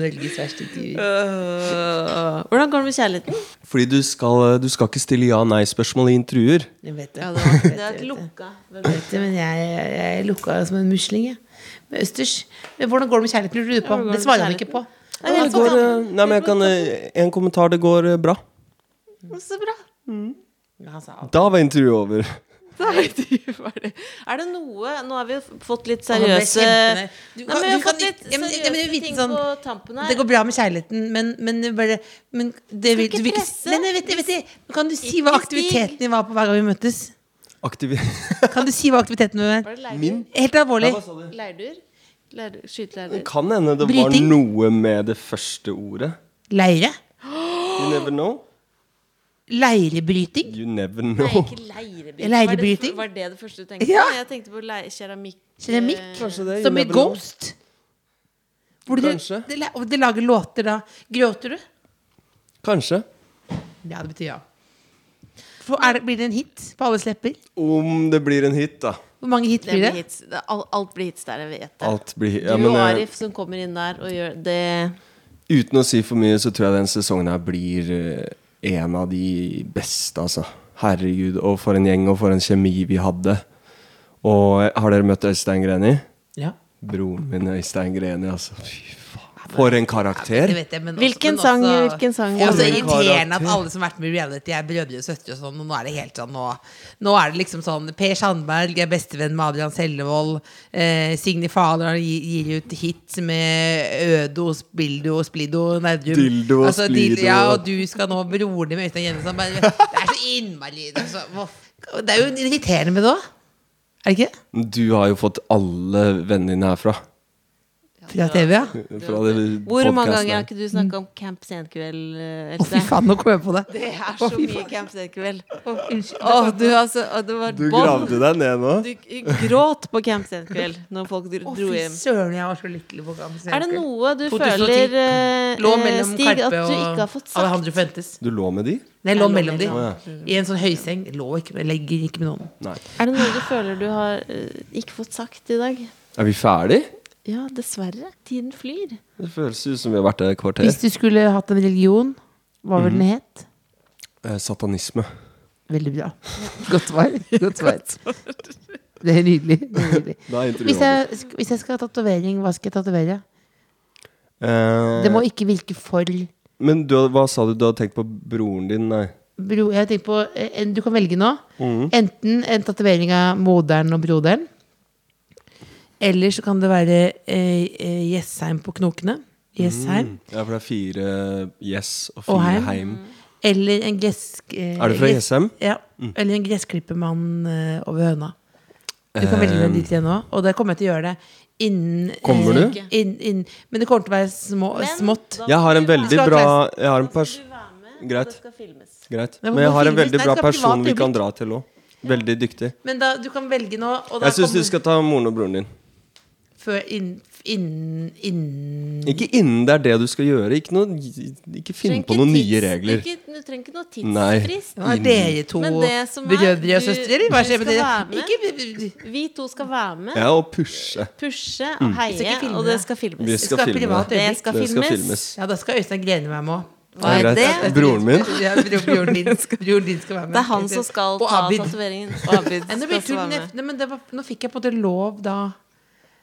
Speaker 5: Norges verste intervjuer.
Speaker 3: Øh, hvordan går det med kjærligheten?
Speaker 4: Fordi du skal, eh, du skal ikke stille ja-nei-spørsmål i intervjuer.
Speaker 5: Jeg vet det.
Speaker 3: Ja, det, var, det er et lukka. Hvem vet?
Speaker 5: Vet du, men jeg, jeg lukka som en musling, jeg. Med østers. Men hvordan går det med kjærligheten, lurer du på?
Speaker 3: hvordan går
Speaker 5: Det
Speaker 3: det
Speaker 5: svarer
Speaker 3: med
Speaker 5: han ikke på.
Speaker 3: Nei, det
Speaker 4: Det går,
Speaker 3: Altså,
Speaker 4: eh, nei, men jeg kan eh, En kommentar. Det går eh, bra. eh,
Speaker 3: går så bra.
Speaker 5: Ja, Han sa alt.
Speaker 4: Da var intervjuet over.
Speaker 3: Da er det ferdig. Er det noe Nå har vi jo fått litt
Speaker 5: Han ble
Speaker 3: seriøse
Speaker 5: kjempenær. Du
Speaker 3: Nei,
Speaker 5: kan-
Speaker 3: men vi har
Speaker 5: du kan
Speaker 3: fått litt
Speaker 5: ikke- ja, men- ja, men det er
Speaker 3: seriøse
Speaker 5: litt
Speaker 3: ting
Speaker 5: sånn-
Speaker 3: på tampen her.
Speaker 5: Det går bra med kjærligheten, men, men det bare men det vil,
Speaker 3: ikke
Speaker 5: du vil ikke
Speaker 3: presse.
Speaker 5: Nei, nei, vet, du- vet, du, Kan du si hva
Speaker 3: Ikke stig.
Speaker 5: aktiviteten din var på hver gang vi møttes?
Speaker 4: Aktiv...
Speaker 5: Kan du si hva aktiviteten din var?
Speaker 3: Var det leirdur?
Speaker 4: Min?
Speaker 5: Helt alvorlig.
Speaker 4: Hva sa du?
Speaker 3: Leirdur? Leirdur? Skyteleirdur?
Speaker 4: Kan hende det var
Speaker 5: Bryting.
Speaker 4: noe med det første ordet.
Speaker 5: Leire.
Speaker 4: You never know.
Speaker 5: Leirebryting.
Speaker 4: You never
Speaker 3: Nei,
Speaker 4: know.
Speaker 3: ikke leirebryting.
Speaker 5: Leirebryting?
Speaker 3: Var det, var det det første du tenkte på?
Speaker 5: Ja.
Speaker 3: Jeg tenkte på leir, keramikk.
Speaker 5: Keramikk.
Speaker 4: Eh, Kanskje det, you
Speaker 5: Som i
Speaker 4: never know.
Speaker 5: Ghost. Hvor du,
Speaker 4: Kanskje.
Speaker 5: det, la- og det lager låter da. Gråter du?
Speaker 4: Kanskje.
Speaker 5: Ja, det betyr ja. For er det, blir det en hit på alles lepper?
Speaker 4: Om det blir en hit, da.
Speaker 5: Hvor mange hit
Speaker 3: Det
Speaker 5: blir
Speaker 3: blir
Speaker 5: det?
Speaker 3: hits. Det- Alt, alt blir hits der, jeg vet det.
Speaker 4: Alt blir
Speaker 3: Du
Speaker 4: ja, men,
Speaker 3: og
Speaker 4: eh,
Speaker 3: Arif som kommer inn der og gjør det
Speaker 4: Uten å si for mye, så tror jeg den sesongen her blir eh, en av de beste, altså. Herregud, og for en gjeng, og for en kjemi vi hadde. Og eh, har dere møtt Øystein Greni?
Speaker 5: Ja.
Speaker 4: Broren min Øystein Greni, altså. Fy faen. For en karakter!
Speaker 5: Det vet jeg, men
Speaker 3: Hvilken
Speaker 5: også,
Speaker 3: sang-
Speaker 5: men også,
Speaker 3: hvilken sang?
Speaker 5: Det er også
Speaker 4: Alle
Speaker 5: irriterende at
Speaker 4: karakter.
Speaker 5: alle som har vært med i reality, er brødre og søstre og sånn, og nå er det helt sånn nå, nå er det liksom sånn Per Sandberg er bestevenn med Adrian Sellevold, eh, Signe Fahler gir, gir ut hits med Ødo, Spildo og Splido Nerdrum.
Speaker 4: Dildo og
Speaker 5: dil-
Speaker 4: Splido.
Speaker 5: Ja, og du skal nå broren din med Øystein Jensen. Bare, Det er så innmari altså, hva- Det er jo irriterende med det òg. Er det ikke det?
Speaker 4: Du har jo fått alle vennene dine herfra.
Speaker 5: Fra TV, ja.
Speaker 4: Fra det
Speaker 3: Hvor mange ganger har
Speaker 4: podcasten.
Speaker 3: ikke du snakka om Camp Senkveld? eh,
Speaker 5: Å,
Speaker 3: Else?
Speaker 5: fy faen, nå kom jeg på det.
Speaker 3: Det er så mye Camp Senkveld. Å, du altså å, Det var
Speaker 4: Du
Speaker 3: bånd.
Speaker 4: gravde deg ned nå?
Speaker 3: Du gråt på Camp Senkveld når folk dro
Speaker 5: Å,
Speaker 3: dro
Speaker 5: fy
Speaker 3: hjem.
Speaker 5: søren, jeg var så lykkelig på gang.
Speaker 3: Er det noe du
Speaker 5: 2010
Speaker 3: føler eh,
Speaker 5: Lå
Speaker 3: eh,
Speaker 5: mellom
Speaker 3: Stig, at
Speaker 5: Karpe
Speaker 3: du
Speaker 5: og
Speaker 3: ikke har fått sagt?
Speaker 5: Alejandro Fuentes.
Speaker 4: Du lå med de?
Speaker 5: Nei, lå mellom de.
Speaker 4: Å, ja.
Speaker 5: I en sånn høyseng. Lå ikke, jeg legger ikke med noen.
Speaker 4: Nei.
Speaker 3: Er det noe du føler du har eh, ikke fått sagt i dag?
Speaker 4: Er vi ferdig?
Speaker 3: Ja, dessverre. Tiden flyr.
Speaker 4: Det føles ut som vi har vært der et kvarter.
Speaker 5: Hvis du skulle hatt en religion, hva ville den het?
Speaker 4: Eh, Satanisme.
Speaker 5: Veldig bra. Godt svar. Godt svar. Det er nydelig. Det er nydelig.
Speaker 4: Da er intervjuet
Speaker 5: Hvis jeg, sk- hvis jeg skal ha tatovering, hva skal jeg tatovere?
Speaker 4: over. Eh,
Speaker 5: Det må ikke virke for bro,
Speaker 4: Men du, hva sa du? Du hadde tenkt på broren din? Nei.
Speaker 5: Jeg tenker på eh, en, Du kan velge nå.
Speaker 4: Mm.
Speaker 5: Enten en tatovering av moderen og broderen. Eller så kan det være eh, eh,
Speaker 4: Mm.
Speaker 5: Jessheim på knokene. Jessheim.
Speaker 4: Ja, for det er fire yes og
Speaker 5: Og
Speaker 4: fire
Speaker 5: heim.
Speaker 4: heim.
Speaker 5: Eller en gresk eh,
Speaker 4: Er du fra
Speaker 5: gress-
Speaker 4: Jessheim? Mm.
Speaker 5: Ja. Eller en gressklippermann eh, over høna. Du kan velge deg dit igjen nå, og det kommer jeg til å gjøre det. Innen, eh,
Speaker 4: Kommer du?
Speaker 5: Inn, inn, men det kommer til å være små, smått.
Speaker 4: Jeg har en veldig
Speaker 5: Skal
Speaker 4: bra
Speaker 5: Klaus-
Speaker 4: Jeg har en pers Greit.
Speaker 3: skal filmes.
Speaker 4: Greit.
Speaker 5: Men
Speaker 4: Men jeg
Speaker 5: hvorfor
Speaker 4: har en
Speaker 5: filmes?
Speaker 4: veldig
Speaker 5: Nei,
Speaker 4: bra
Speaker 5: det skal privat
Speaker 4: person vi kan
Speaker 5: øyeblikk.
Speaker 4: dra til òg. Veldig dyktig.
Speaker 5: Men da, du kan velge nå. Og da
Speaker 4: Jeg syns du
Speaker 5: kommer-
Speaker 4: skal ta moren og broren din.
Speaker 5: Før inn, inn, inn
Speaker 4: Ikke innen det er det du skal gjøre. Ikke, noe, ikke finn på noen nye regler.
Speaker 3: Ikke, du trenger ikke noe
Speaker 4: Nei.
Speaker 3: tidsfrist.
Speaker 5: Hva er dere to
Speaker 3: Men det som er,
Speaker 5: brødre og
Speaker 3: du-
Speaker 5: søstre, eller? Hva
Speaker 3: du
Speaker 5: skjer med
Speaker 3: skal
Speaker 5: dere?
Speaker 3: være med.
Speaker 5: Ikke,
Speaker 3: Vi to skal være med,
Speaker 4: Ja, og pushe.
Speaker 3: pushe og
Speaker 5: Vi skal
Speaker 3: heie,
Speaker 5: ikke filme
Speaker 3: og det
Speaker 5: det.
Speaker 3: skal
Speaker 4: Vi
Speaker 3: filmes.
Speaker 4: skal
Speaker 5: Skape
Speaker 4: filme.
Speaker 5: privat
Speaker 3: Det skal
Speaker 4: Det skal
Speaker 3: filmes.
Speaker 4: filmes.
Speaker 5: ja, da skal Øystein Grene være med òg.
Speaker 3: Hva er
Speaker 4: greit.
Speaker 3: det?
Speaker 4: Broren min?
Speaker 5: Ja, bro- broren din, broren din skal være med.
Speaker 3: Det er han som skal
Speaker 5: Og
Speaker 3: ta
Speaker 5: Abid.
Speaker 3: tatoveringen. Og Abid
Speaker 5: Nei, nå,
Speaker 3: skal
Speaker 5: blir
Speaker 3: også
Speaker 5: tull,
Speaker 3: være med.
Speaker 5: nei, men det var, nå fikk jeg på en måte lov, da.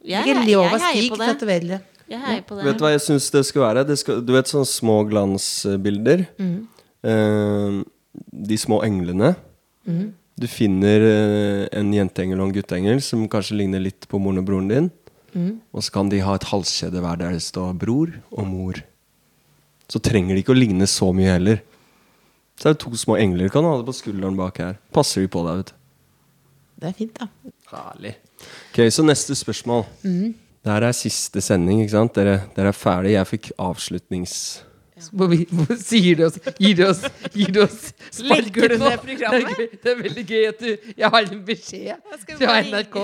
Speaker 3: Jeg,
Speaker 5: ikke
Speaker 3: jeg,
Speaker 5: lov av
Speaker 3: heier
Speaker 5: Stig
Speaker 3: på
Speaker 5: til å
Speaker 3: det.
Speaker 5: tatovere det.
Speaker 3: Jeg heier på
Speaker 4: Vet du
Speaker 3: det.
Speaker 4: hva jeg syns det skal være? Det skal, du vet sånne små glansbilder?
Speaker 3: Mm.
Speaker 4: Eh, de små englene.
Speaker 3: Mm.
Speaker 4: Du finner eh, en jenteengel og en gutteengel som kanskje ligner litt på moren og broren din.
Speaker 3: Mm.
Speaker 4: Og så kan de ha et halskjede hver der det står 'bror' og 'mor'. Så trenger de ikke å ligne så mye heller. Så er det to små engler. Kan du ha det på skulderen bak her. Passer de på deg, vet du.
Speaker 5: Det er fint, da.
Speaker 4: Herlig. Ok, så neste spørsmål. Det her er siste sending, ikke sant? Dere, dere er ferdig. Jeg fikk avslutnings...
Speaker 5: Hvor vi, hvor sier du oss Gir du oss, gir du oss Sparker du
Speaker 3: Legger
Speaker 5: nå?
Speaker 3: ned
Speaker 5: Det er, gøy- det er veldig gøy at du Jeg har en beskjed
Speaker 3: skal vi
Speaker 5: fra
Speaker 3: bare ringe?
Speaker 5: NRK.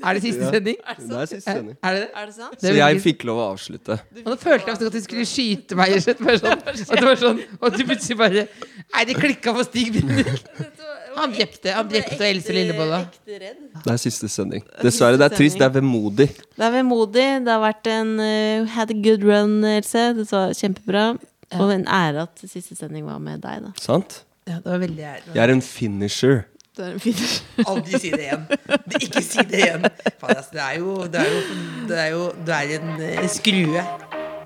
Speaker 5: Er det siste sending?
Speaker 4: Det er siste sending.
Speaker 5: Er det det?
Speaker 3: Er det sant?
Speaker 5: Det
Speaker 4: Så
Speaker 5: er veldig
Speaker 4: jeg
Speaker 5: gøy.
Speaker 4: fikk lov å avslutte.
Speaker 5: Og nå følte jeg også at de skulle skyte meg. Sånn, bare sånn, at det var sånn Og du plutselig bare Nei, det klikka for Stig Brenner. Han drepte han drepte Else Lillebolla.
Speaker 4: Det er siste sending. Dessverre, det er trist. Det er vemodig.
Speaker 3: Det er vemodig. Det har vært en eh, Had a good run, Else. Det var kjempebra. Og en ære at siste sending var med deg, da.
Speaker 4: Sant?
Speaker 5: Ja, det var veldig ærlig.
Speaker 4: Jeg er en finisher.
Speaker 3: Det er en fin
Speaker 5: Aldri si det igjen. Det- Ikke si det igjen. Faen, altså, det er jo Det er jo, det er jo Du er en eh, skrue.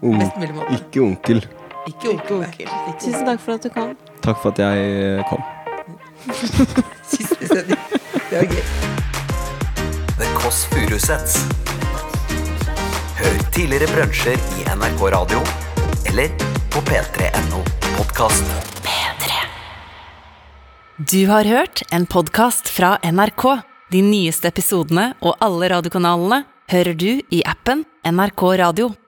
Speaker 4: Ung-
Speaker 5: Best mulig måte.
Speaker 4: Ikke onkel.
Speaker 5: Ikke onkel. Ikke
Speaker 3: Tusen takk for at du kom.
Speaker 4: Takk for at jeg kom.
Speaker 5: Siste sending. Det var gøy.
Speaker 2: The Kåss Furuseths. Hør tidligere brunsjer i NRK Radio eller på p3.no podkast.
Speaker 1: Du har hørt en podkast fra NRK. De nyeste episodene og alle radiokanalene hører du i appen NRK Radio.